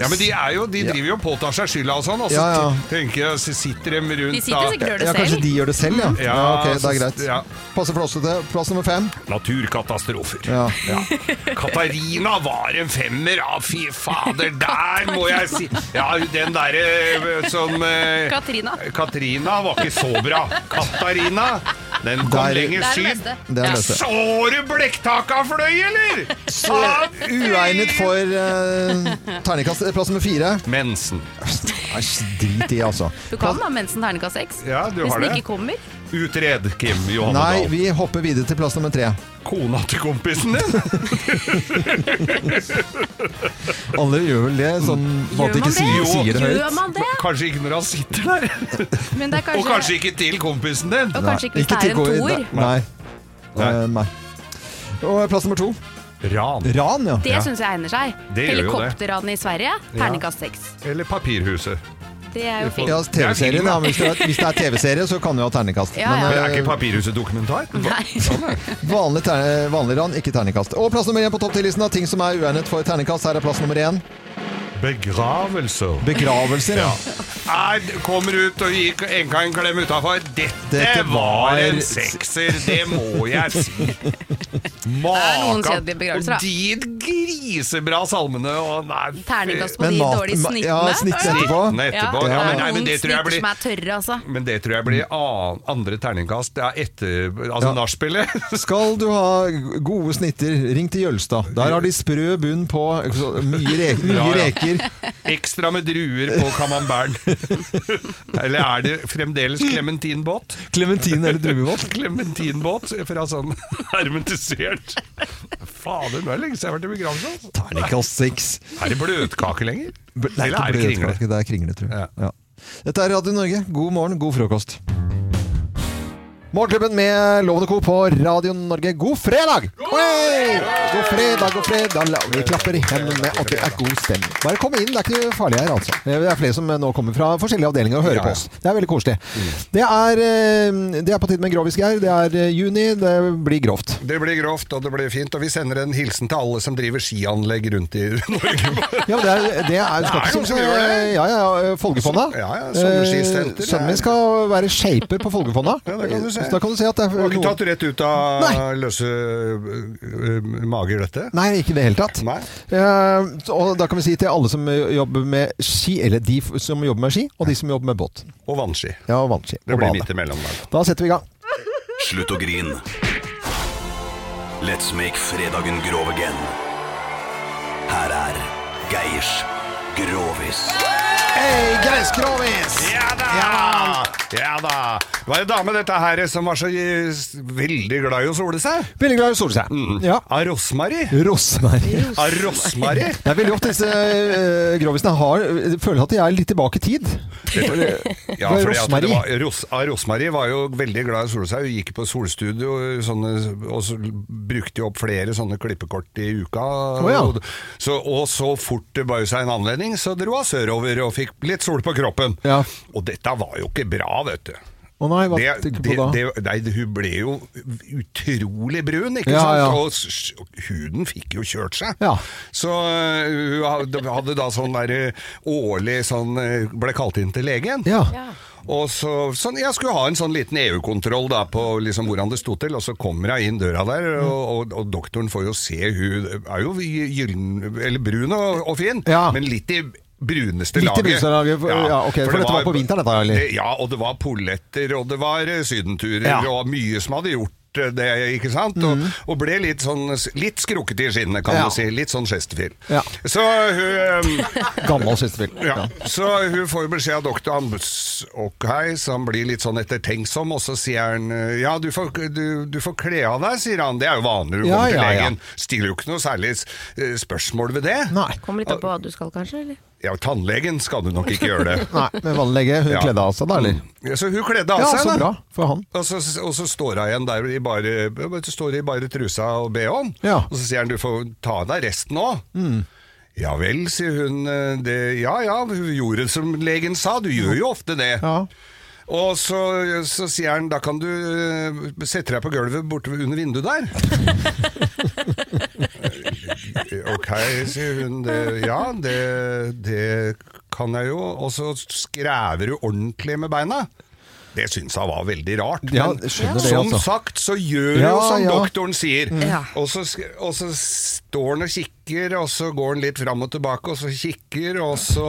Speaker 2: Ja, men de, er jo, de driver jo og påtar seg skylda og sånn, og så
Speaker 1: Ja, ja.
Speaker 2: tenker jeg, så sitter de rundt
Speaker 8: De sitter sikkert og gjør det
Speaker 1: Ja, kanskje
Speaker 8: selv.
Speaker 1: de gjør det selv, ja.
Speaker 2: Mm. Ja,
Speaker 1: ja ok, det er
Speaker 2: så-
Speaker 1: greit.
Speaker 2: ja.
Speaker 1: Passe flåsete. Plass nummer fem.
Speaker 2: Naturkatastrofer.
Speaker 1: Ja.
Speaker 2: Katarina var en femmer, ja, fy fader, der må jeg si Ja, den derre som eh,
Speaker 8: Katrina.
Speaker 2: Katrina var ikke så bra. Katarina, den kom
Speaker 1: Der-
Speaker 2: lenger
Speaker 8: Det er det
Speaker 2: syv.
Speaker 8: beste.
Speaker 1: Det er det
Speaker 2: Ja,
Speaker 1: beste.
Speaker 2: Så du blekktaka fløy, eller?!
Speaker 1: Så eh, uegnet for uh, terningkast. Plass nummer fire.
Speaker 2: Mensen.
Speaker 1: Nei, drit i, altså.
Speaker 3: Du kan da mensen terningkast seks.
Speaker 2: Ja, du
Speaker 3: Hvis
Speaker 2: har
Speaker 3: den
Speaker 2: det.
Speaker 3: ikke kommer.
Speaker 2: Utred, Kim Johanne
Speaker 1: Nei,
Speaker 2: Dahl.
Speaker 1: vi hopper videre til plass nummer tre.
Speaker 2: Kona til kompisen din!
Speaker 1: Alle gjør vel det, sånn
Speaker 2: Gjør
Speaker 1: at de ikke
Speaker 2: man
Speaker 1: sier,
Speaker 2: det?
Speaker 1: sier det høyt.
Speaker 3: Gjør man det?
Speaker 2: Kanskje ikke når han sitter der.
Speaker 3: Men det er
Speaker 2: Og kanskje ikke til kompisen din.
Speaker 3: Og kanskje ikke hvis det er en
Speaker 1: til-
Speaker 3: toer.
Speaker 1: Nei. Eh, nei. Og plass nummer to.
Speaker 2: Ran.
Speaker 1: Ran, ja.
Speaker 3: Det sånn- syns jeg egner seg.
Speaker 2: Det gjør jo det.
Speaker 3: Helikopterranet i Sverige, terningkast seks.
Speaker 2: Eller Papirhuset.
Speaker 3: Det er jo fint.
Speaker 1: Ja,
Speaker 2: Det er
Speaker 1: TV-serien,
Speaker 2: film,
Speaker 1: ja.
Speaker 2: da.
Speaker 1: Hvis det er, hvis det er TV-serie, så kan du ha terningkast.
Speaker 3: Ja, ja.
Speaker 2: Men
Speaker 1: eh,
Speaker 2: er ikke Papirhuset dokumentar? Sånn,
Speaker 1: vanlig, ter vanlig ran, ikke terningkast. Og plass nummer én på topp 10-listen av ting som er uegnet for terningkast. Her er plass nummer én.
Speaker 2: Begravelser.
Speaker 1: Begravelser, ja.
Speaker 2: Nei, du kommer ut og gir enka en klem utafor. Dette,
Speaker 1: Dette
Speaker 2: var
Speaker 1: var-
Speaker 2: en sekser, (laughs) det må jeg si.
Speaker 3: noen
Speaker 2: Maka.
Speaker 3: kjedelige begravelser, da.
Speaker 2: Og de grisebra salmene og nei, fy-
Speaker 3: Terningkast på de dårlige snittene.
Speaker 2: Snittene etterpå. Ja, men, nei, men det tror jeg
Speaker 3: Noen snitter
Speaker 2: blir
Speaker 3: som er tørre, altså.
Speaker 2: men det tror jeg blir an, andre terningkast. Det er etter altså nachspielet. (laughs)
Speaker 1: Skal du ha gode snitter, ring til Jølstad. Der har de sprø bunn på så mye, re mye
Speaker 2: Ja, ja.
Speaker 1: reker.
Speaker 2: Ekstra med druer på
Speaker 1: (laughs)
Speaker 2: camembert. Eller er det fremdeles klementinbåt?
Speaker 1: Klementin eller druebåt?
Speaker 2: (laughs) Klementinbåt fra sånn (laughs) hermetisert. Fader, nå er det lenge siden jeg har vært i begravelse. altså.
Speaker 1: Terningkast seks.
Speaker 2: Er det bløtkake lenger?
Speaker 1: Nei, det
Speaker 2: Eller
Speaker 1: er
Speaker 2: er det
Speaker 1: ikke
Speaker 2: kringle?
Speaker 1: bløtkake, det er kringle, tror jeg. Ja. Dette er Radio Norge. God morgen, god frokost. Morgenklubben med Lovende Co. på Radio Norge. God fredag! Hey! God fredag, god fredag. La- Vi klapper i hendene, og det er god stemning. Bare kom inn, det er ikke farlig her, altså. Det er flere som nå kommer fra forskjellige avdelinger og hører
Speaker 2: Ja, ja.
Speaker 1: på oss. Det er veldig koselig. Det er, eh, det er på tide med Grovis Geir. Det er eh, juni, det blir grovt.
Speaker 2: Det blir grovt, og det blir fint. Og vi sender en hilsen til alle som driver skianlegg rundt i (laughs) Norge.
Speaker 1: (laughs) Ja, men det er, det er, skal
Speaker 2: Det er
Speaker 1: ikke så-
Speaker 2: noen som gjør det.
Speaker 1: Ja, ja, eh, Folgefonna.
Speaker 2: Ja, ja,
Speaker 1: Eh,
Speaker 2: sommerskisenter, det
Speaker 1: Sønnen min
Speaker 2: er-
Speaker 1: skal være shaper på Folgefonna.
Speaker 2: Ja, det kan du se.
Speaker 1: Så da kan du se at det er
Speaker 2: Var ikke
Speaker 1: noen-
Speaker 2: tatt rett ut av løse ø, ø, mager, dette?
Speaker 1: Nei, ikke i det hele tatt. Eh, og da kan vi si til alle som jobber med ski, eller de f- som jobber med ski, og de som jobber med båt.
Speaker 2: Og vannski.
Speaker 1: Ja, og vannski.
Speaker 2: Det
Speaker 1: og
Speaker 2: blir
Speaker 1: bane.
Speaker 2: midt imellom der.
Speaker 1: Da setter vi i gang.
Speaker 19: Slutt å grine. Let's make fredagen grov again. Her er Geirs Grovis.
Speaker 1: Hei, Geis Grovis!
Speaker 2: Ja da! Ja da! Det var en dame, dette her, som var så eh, s- veldig glad i å sole seg. Mm.
Speaker 1: Veldig glad i å sole seg. Ja.
Speaker 2: Av rosmari.
Speaker 1: Rosmari.
Speaker 2: Av rosmari.
Speaker 1: Det er veldig ofte disse eh, grovisene har, føler at de er litt tilbake i tid. (laughs)
Speaker 2: Ja,
Speaker 1: Det var
Speaker 2: fordi at
Speaker 1: rosmari.
Speaker 2: det var, Ros, ah, Rosmarie var jo veldig glad i å sole seg. Hun gikk på solstudio sånne, og så brukte jo opp flere sånne klippekort i uka.
Speaker 1: Å, ja.
Speaker 2: og, så, og så fort det bød seg en anledning, så dro hun sørover og fikk litt sol på kroppen. Og dette var jo ikke bra, vet du.
Speaker 1: Å nei, hva
Speaker 2: Det-
Speaker 1: tenker du
Speaker 2: det-
Speaker 1: på da?
Speaker 2: det- nei, hun ble jo utrolig brun, ikke
Speaker 1: Ja,
Speaker 2: sant?
Speaker 1: ja.
Speaker 2: Og s- s- huden fikk jo kjørt seg.
Speaker 1: Ja.
Speaker 2: Så øh, hun hadde- hadde da sånn der øh, årlig sånn øh, Ble kalt inn til legen. Og så, sånn, Jeg skulle ha en sånn liten EU-kontroll da på liksom hvordan det sto til, og så kommer hun inn døra der,
Speaker 1: Mm.
Speaker 2: og, og, og doktoren får jo se Hun er jo gy- gyllen, eller brun og, og fin, men litt i bruneste
Speaker 1: Litt i
Speaker 2: laget.
Speaker 1: bruneste laget, for- ja, ok, for
Speaker 2: det Eh,
Speaker 1: dette var på vinteren, dette, eller?
Speaker 2: Det- ja, og det var polletter, og det var eh, sydenturer,
Speaker 1: Ja. Mhm.
Speaker 2: og mye som hadde gjort eh, det, ikke sant? Og, og ble litt sånn, litt skrukket i skinnet, kan
Speaker 1: Ja.
Speaker 2: du si. Litt sånn Chesterfield.
Speaker 1: Ja.
Speaker 2: Så hun... eh,
Speaker 1: Gammel kjestebil.
Speaker 2: Ja. Så hun får beskjed av doktor Ambus Okhei, som blir litt sånn ettertenksom, og så sier han eh, ja, du får, du, du får kle av deg, sier han. Det er jo vanlig når du
Speaker 1: Ja,
Speaker 2: kommer til
Speaker 1: ja, ja.
Speaker 2: legen. Stiller jo ikke noe særlig eh, spørsmål ved det.
Speaker 3: Kommer litt an på hva du skal, kanskje? Eller?
Speaker 2: Ja, tannlegen skal du nok ikke gjøre det.
Speaker 1: (laughs) Nei, men vannlege, hun
Speaker 2: Ja.
Speaker 1: kledde av seg da, eller?
Speaker 2: Ja, så hun kledde av
Speaker 1: Ja,
Speaker 2: seg,
Speaker 1: så
Speaker 2: da.
Speaker 1: bra for han.
Speaker 2: Og så, og så står hun igjen der i bare, så står hun i bare trusa og BH-en. Og så sier han du får ta av deg resten òg.
Speaker 1: Mm.
Speaker 2: Ja vel, sier hun. eh, Det, ja ja, hun gjorde som legen sa. Du gjør jo ofte det. Og så, så sier han da kan du eh, sette deg på gulvet borte under vinduet der. ok, sier hun. Det, ja, det, det kan jeg jo. Og så skrever du ordentlig med beina. Det syns han var veldig rart.
Speaker 1: Ja,
Speaker 2: men
Speaker 1: jeg skjønner det,
Speaker 2: som
Speaker 1: altså.
Speaker 2: sagt så gjør
Speaker 1: Ja,
Speaker 2: jo som
Speaker 1: ja.
Speaker 2: doktoren sier.
Speaker 1: Mm. Ja.
Speaker 2: Og, så, sk- og så står han og kikker, og så går han litt fram og tilbake, og så kikker, og så,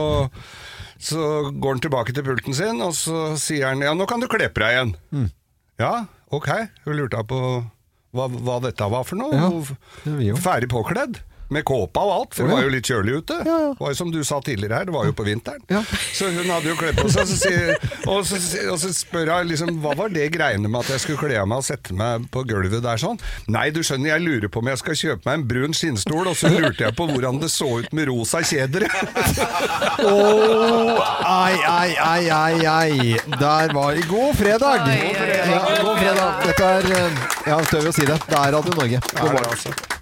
Speaker 2: så går han tilbake til pulten sin, og så sier han ja, nå kan du kle på deg igjen.
Speaker 1: Mm.
Speaker 2: Ja, ok. Hun lurte på hva, hva dette var for noe.
Speaker 1: Ja,
Speaker 2: Hun-
Speaker 1: det er vi jo.
Speaker 2: Ferdig påkledd. Med kåpa og alt,
Speaker 1: Å,
Speaker 2: for det
Speaker 1: ja.
Speaker 2: var jo litt kjølig ute. Det var jo som du sa tidligere her, det var jo på vinteren. Så hun hadde jo kledd på seg, så sier, og, så, sier- og så spør jeg liksom Hva var det greiene med at jeg skulle kle av meg og sette meg på gulvet der sånn? Nei, du skjønner, jeg lurer på om jeg skal kjøpe meg en brun skinnstol, og så lurte jeg på hvordan det så ut med rosa kjeder.
Speaker 1: Åh, ai, ai, ai, ai, ai. Der var God fredag!
Speaker 2: God fredag.
Speaker 1: Ja, god fredag. Dette er eh, Ja, tør vi å si det. Det er Radio Norge. God
Speaker 2: Er det
Speaker 1: morgen.
Speaker 2: altså?